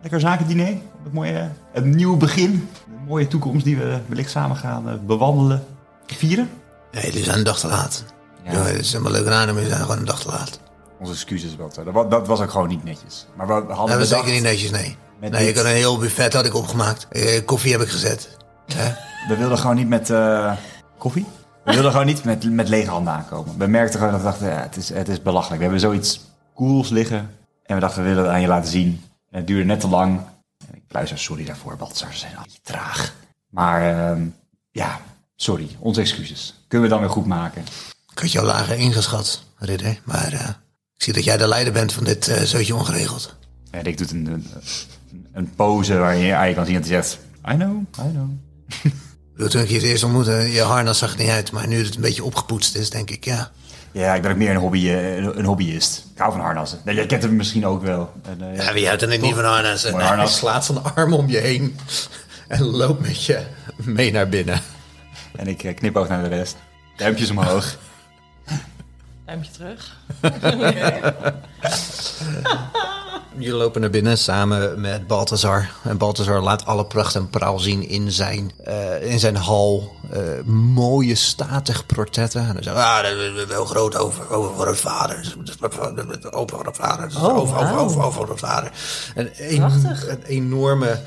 S1: lekker zakendiner. Het mooie, een nieuw begin. Een mooie toekomst die we wellicht samen gaan eh, bewandelen. Vieren.
S6: Nee, jullie zijn een dag te laat. Ja. het is helemaal leuk en aardig, maar jullie zijn gewoon een dag te laat.
S1: Onze excuses wat. eh, Dat wa- dat was ook gewoon niet netjes. Maar we hadden
S6: Dat was
S1: bedacht-
S6: zeker Nou, niet netjes, nee.
S1: Met
S6: nee, ik
S1: dit-
S6: had een heel buffet had ik opgemaakt. Eh, koffie heb ik gezet. Hè?
S1: We wilden gewoon niet met... eh, koffie? We wilden gewoon niet met, met lege handen aankomen. We merkten gewoon dat we dachten, ja, het, is, het is belachelijk. We hebben zoiets cools liggen. En we dachten, we willen het aan je laten zien. En het duurde net te lang. En ik luister, sorry daarvoor, Baltzar. Ze zijn al beetje traag. Maar ehm, ja, sorry. Onze excuses. Kunnen we dan weer goed maken.
S6: Ik had jou lager ingeschat, Ridder. Maar eh, ik zie dat jij de leider bent van dit eh zootje ongeregeld.
S1: En Rick doet een, een, een pose waarin je aan je kan zien dat hij zegt... I know, I know.
S6: Ik bedoel, toen ik je het eerst ontmoette, je harnas zag er niet uit. Maar nu het een beetje opgepoetst is, denk ik, ja.
S1: Ja, ik ben ook meer een, hobby, eh, een, een hobbyist. Ik hou van harnassen. Nee, Jij kent hem misschien ook wel. En, eh,
S6: Ja, wie houdt er niet van harnas?
S1: Mooi harnas.
S6: slaat zijn arm om je heen en loopt met je mee naar binnen.
S1: En ik eh, knipoog naar de rest. Duimpjes omhoog.
S2: Duimpje terug.
S6: Jullie lopen naar binnen samen met Balthazar. En Balthazar laat alle pracht en praal zien in zijn, eh, in zijn hal. Eh, mooie, statig portretten. En dan zegt ah, dat is wel groot over, over voor het vader. Dus Dat is Open voor het vader. Dat is over, over, over, over voor het vader. Een, en- een enorme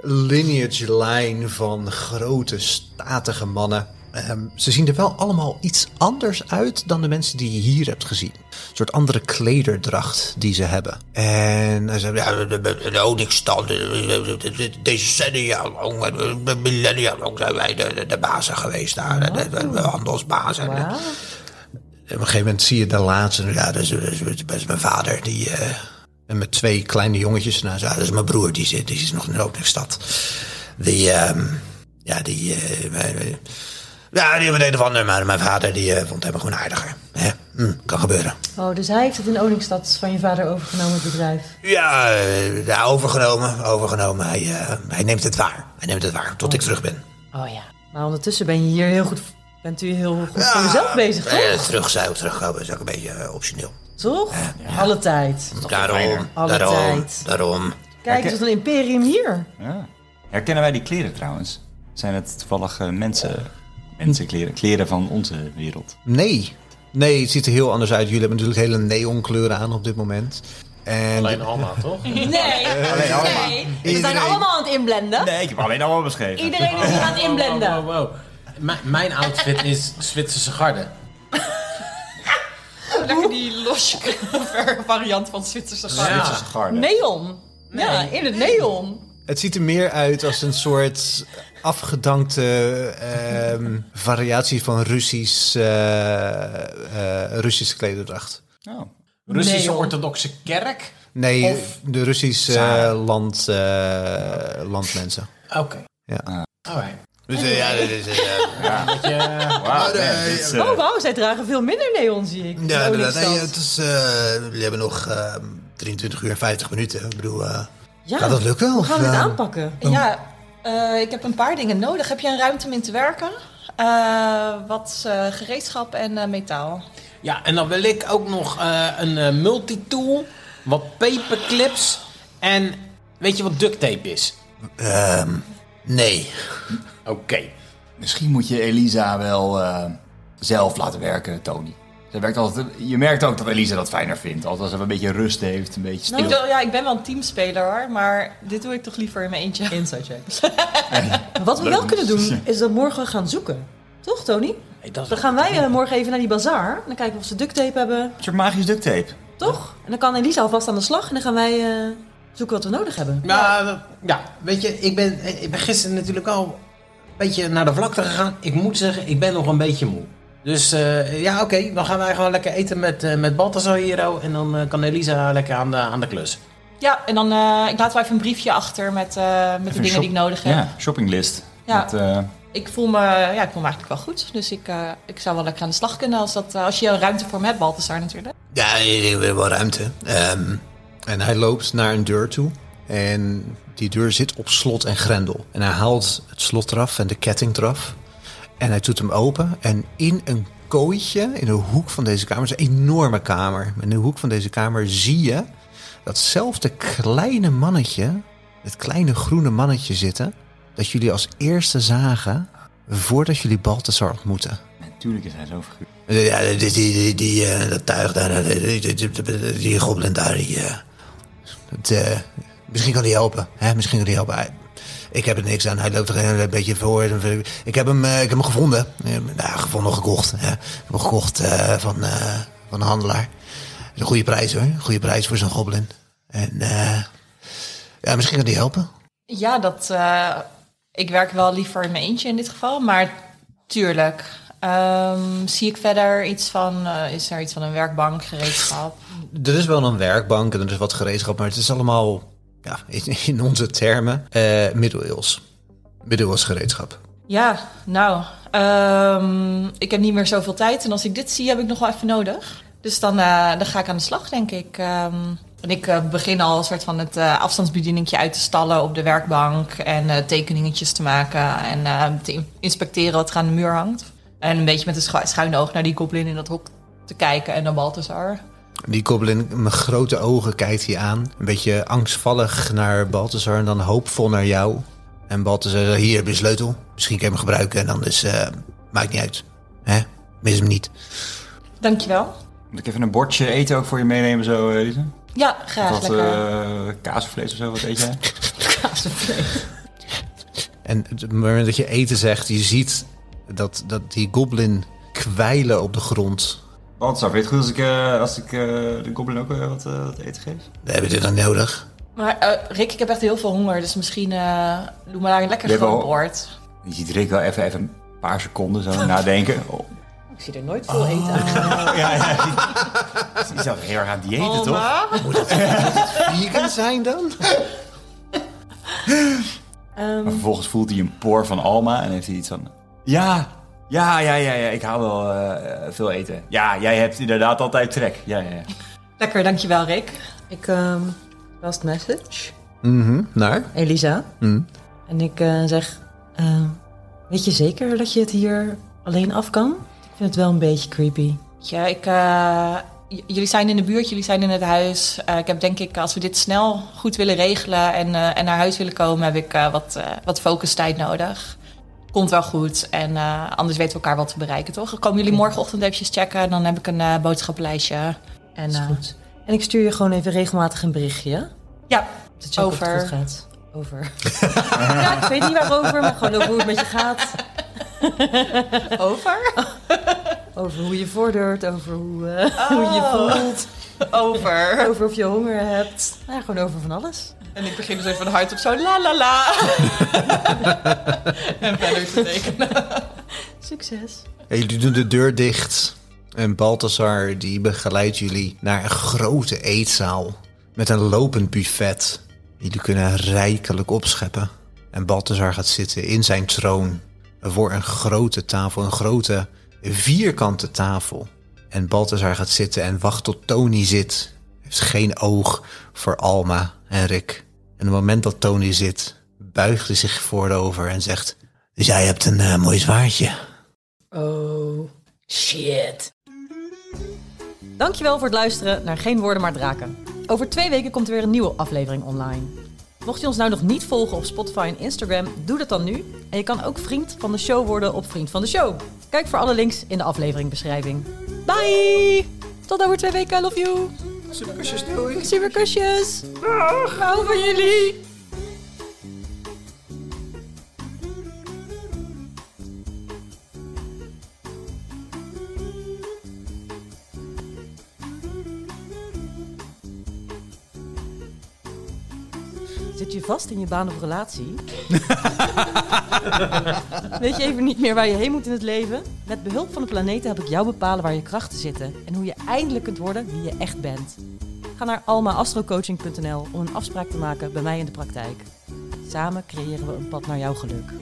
S6: lineage lijn van grote, statige mannen. Ehm, ze zien er wel allemaal iets anders uit dan de mensen die je hier hebt gezien. Een soort andere klederdracht die ze hebben. En hij zegt, ja, de- de- de- de Onyx-stand, de- de- de- de- decennia lang, de- de millennia lang oh, zijn wij de, de, de bazen geweest daar. De, de- de- de handelsbazen. En op een gegeven moment zie je de laatste, ja, dat is, dat is- dat is mijn vader, die... eh, en met twee kleine jongetjes. Nou, zo, dat is mijn broer, die, zit, die is nog in de Onyx-stad. Die, ehm, ja, die... eh, wij- wij- Ja, die hebben een of ander, maar mijn vader die, eh, vond hem gewoon aardiger. Hè? Hm, kan gebeuren.
S7: Oh, dus hij heeft het in Oningstad van je vader overgenomen, het bedrijf.
S6: Ja, eh, ja, overgenomen, overgenomen. Hij, eh, hij neemt het waar. Hij neemt het waar, tot ik terug ben.
S7: Oh ja. Maar ondertussen ben je hier heel goed, bent u heel goed voor jezelf bezig, toch?
S6: Eh, terug zou ik terugkomen, is ook een beetje eh, optioneel.
S7: Toch? Alle tijd.
S6: Daarom,
S7: Alle
S6: daarom,
S7: tijd.
S6: daarom.
S7: Kijk,
S1: Herken-
S7: wat een imperium hier.
S1: Ja. Herkennen wij die kleren trouwens? Zijn het toevallig eh, mensen, mensenkleren? Kleren van onze wereld.
S6: Nee. Nee, het ziet er heel anders uit. Jullie hebben natuurlijk hele neonkleuren aan op dit moment. En
S16: Alleen Alma, toch?
S2: Nee, nee.
S1: allemaal.
S2: We zijn
S6: Iedereen.
S2: allemaal aan het inblenden.
S1: Nee, ik heb alleen allemaal beschreven.
S2: Iedereen is hier aan het inblenden.
S5: Wow, wow. M- mijn outfit is Zwitserse garde.
S2: Lekker die losje variant van Zwitserse garde.
S5: Ja.
S1: Garde.
S2: Neon. Ja, in het neon.
S6: het ziet er meer uit als een soort afgedankte ehm, variatie van Russisch, eh, eh, Russische klederdracht.
S1: Oh.
S5: Russische
S2: Nee, joh.
S5: orthodoxe kerk.
S6: Nee,
S5: Of-
S6: de Russische
S5: Zaren.
S6: eh, land, eh, landmensen.
S5: Oké. Ah,
S6: Ja.
S5: Alright.
S6: Dus ja, dit is...
S5: Dat je-
S1: Wauw, man,
S6: nee,
S1: dit is, eh,
S7: Oh, wauw, zij dragen veel minder neon, zie ik. Oh,
S6: Ja, inderdaad.
S7: in Oningstad.
S6: Nee, het is, eh, jullie hebben nog eh, 23 uur en 50 minuten. Ik bedoel, eh,
S7: Ja,
S6: gaat dat lukken?
S7: Hoe
S6: of,
S7: gaan we dit
S6: eh,
S7: aanpakken?
S1: Oh.
S2: Ja, eh, ik heb een paar dingen nodig. Heb je een ruimte om in te werken? Eh, wat eh, gereedschap en eh, metaal.
S5: Ja, en dan wil ik ook nog eh, een eh, multitool, wat paperclips en weet je wat duct tape is?
S6: ehm, nee.
S5: Oké.
S17: Misschien moet je Elisa wel eh, zelf laten werken, Tony. Ze werkt altijd, je merkt ook dat Elisa dat fijner vindt. Altijd als ze een beetje rust heeft, een beetje stil.
S2: Ik, wil- ja, ik ben wel een teamspeler hoor, maar dit doe ik toch liever in mijn eentje.
S7: Inside check. wat we wel kunnen doen, is dat morgen gaan zoeken. Toch, Tony?
S5: Hey, dat is-
S7: Dan gaan wij eh, morgen even naar die bazaar. Dan kijken we of ze duct tape hebben.
S1: Een soort magisch duct tape.
S7: Toch? En dan kan Elisa alvast aan de slag. En dan gaan wij eh, zoeken wat we nodig hebben.
S5: Ja, Nou, dat- ja, weet je, ik ben, eh, ik ben gisteren natuurlijk al een beetje naar de vlakte gegaan. Ik moet zeggen, ik ben nog een beetje moe. Dus eh, ja, oké, dan gaan wij gewoon lekker eten met, eh met Balthazar hier. oh, En dan eh, kan Elisa lekker aan de, aan de klus.
S2: Ja, en dan eh, ik laat wel even een briefje achter met, eh, met de
S1: een
S2: dingen
S1: shop-
S2: die ik nodig heb.
S1: Ja, shoppinglist.
S2: Ja.
S1: Met, eh,
S2: Ik, voel me, ja, ik voel me eigenlijk wel goed, dus ik, eh, ik zou wel lekker aan de slag kunnen als, dat, eh, als je ruimte voor me hebt, Balthasar natuurlijk.
S6: Ja, jullie hebben wel ruimte. Ehm, en hij loopt naar een deur toe. En die deur zit op slot en grendel. En hij haalt het slot eraf en de ketting eraf. En hij doet hem open. En in een kooitje, in de hoek van deze kamer, het is een enorme kamer. In de hoek van deze kamer zie je datzelfde kleine mannetje, het kleine groene mannetje zitten. Dat jullie als eerste zagen voordat jullie Balthasar ontmoeten.
S1: natuurlijk is hij zo figuur.
S6: Ja, die, die, die, die, eh, dat tuig daar, eh, die, die, die, die- die goblin daar, die, eh, dat, eh, misschien kan die helpen. Hè? Misschien kan die helpen. Hij- Ik heb er niks aan. Hij loopt er een beetje voor. Ik heb hem, eh, ik heb hem gevonden. Eh, Nou, gevonden, gekocht. Hè? Ik heb hem gekocht eh, van, eh, van een handelaar. Dat is een goede prijs hoor. Goede prijs voor zo'n goblin. En eh, ja, misschien kan die helpen.
S2: Ja, dat, eh, ik werk wel liever in mijn eentje in dit geval, maar tuurlijk. Ehm, zie ik verder iets van, eh, is er iets van een werkbank, gereedschap?
S6: Er is wel een werkbank en er is wat gereedschap, maar het is allemaal ja, in, in onze termen eh middeleeuws. Middeleeuws gereedschap.
S2: Ja, nou, ehm, ik heb niet meer zoveel tijd. En als ik dit zie, heb ik nog wel even nodig. Dus dan, eh, dan ga ik aan de slag, denk ik. Ehm, en ik eh, begin al een soort van het eh afstandsbedieningje uit te stallen op de werkbank. En eh, tekeningetjes te maken en eh, te in- inspecteren wat er aan de muur hangt. En een beetje met een schu- schuine oog naar die goblin in dat hok te kijken en naar Balthazar.
S6: Die goblin met grote ogen kijkt hij aan. Een beetje angstvallig naar Balthazar en dan hoopvol naar jou. En Balthazar zegt, hier heb je de sleutel. Misschien kan je hem gebruiken en dan is... eh, maakt niet uit. Hè? Mis hem niet.
S2: Dankjewel.
S1: Moet ik even een bordje eten ook voor je meenemen zo, eh, Elise?
S2: Ja, graag.
S1: Of Wat
S2: lekker.
S1: eh, kaas of vlees of zo, wat eet jij?
S6: En op het moment dat je eten zegt, je ziet dat, dat die goblin kwijlen op de grond.
S1: Balthasar, vind je het goed als ik, eh, als ik eh, de goblin ook eh, wat, eh, wat eten geef?
S6: We hebben dit dan nodig.
S2: Maar eh, Rick, ik heb echt heel veel honger. Dus misschien eh doe maar daar een lekker
S1: Je hebt
S2: groot
S1: wel-
S2: bord.
S1: Je ziet Rick wel even, even een paar seconden zo nadenken. Oh,
S4: Ik zie er nooit veel eten
S6: Ah.
S4: aan.
S1: die is zelf heel erg aan het diëten, toch?
S6: Vegan zijn dan?
S1: Maar vervolgens voelt hij een poor van Alma en heeft hij iets van... Ja, Ja, ja, ja, ja. ik hou wel eh, veel eten. Ja, jij hebt inderdaad altijd trek. Ja, ja, ja.
S7: Lekker, dankjewel Rick. Ik ehm last message.
S6: Mhm, Naar?
S7: Elisa.
S6: Mhm.
S7: En ik eh, zeg, ehm, weet je zeker dat je het hier alleen af kan? Ik vind het wel een beetje creepy.
S2: Ja, ik, eh, j- jullie zijn in de buurt, jullie zijn in het huis. Eh, ik heb denk ik, als we dit snel goed willen regelen en, eh, en naar huis willen komen, heb ik eh, wat, eh wat focustijd nodig. Komt wel goed en eh, anders weten we elkaar wel te bereiken, toch? Komen jullie morgenochtend eventjes checken en dan heb ik een eh, boodschappenlijstje. En,
S7: Is
S2: eh,
S7: goed. Nou, En ik stuur je gewoon even regelmatig een berichtje. hè?
S2: Ja,
S7: Om te checken of het
S2: over.
S7: goed gaat. Over. ja, ik weet niet waarover, maar gewoon over hoe het met je gaat.
S2: over?
S7: Over hoe je vordert, over hoe, eh, hoe je voelt.
S2: Over.
S7: Over of je honger hebt. Nou ja, gewoon over van alles.
S2: En ik begin dus even van hart op zo la la la. en verder te tekenen.
S7: Succes.
S6: En jullie doen de deur dicht. En Balthasar die begeleidt jullie naar een grote eetzaal. Met een lopend buffet. Jullie kunnen rijkelijk opscheppen. En Balthasar gaat zitten in zijn troon. Voor een grote tafel. Een grote vierkante tafel. En Balthasar gaat zitten en wacht tot Tony zit. Hij heeft geen oog voor Alma en Rick. En op het moment dat Tony zit, buigt hij zich voorover en zegt... Dus jij hebt een eh, mooi zwaardje.
S7: Oh, shit. Dankjewel voor het luisteren naar Geen Woorden Maar Draken. Over twee weken komt er weer een nieuwe aflevering online. Mocht je ons nou nog niet volgen op Spotify en Instagram, doe dat dan nu. En je kan ook vriend van de show worden op Vriend van de Show. Kijk voor alle links in de afleveringbeschrijving. Bye! Tot over twee weken, I love you! Super kusjes, doei! Super kusjes! Dag! Hou van jullie! Zit je vast in je baan of relatie? Weet je even niet meer waar je heen moet in het leven? Met behulp van de planeten heb ik jou bepalen waar je krachten zitten en hoe je eindelijk kunt worden wie je echt bent. Ga naar almaastrocoaching.nl om een afspraak te maken bij mij in de praktijk. Samen creëren we een pad naar jouw geluk.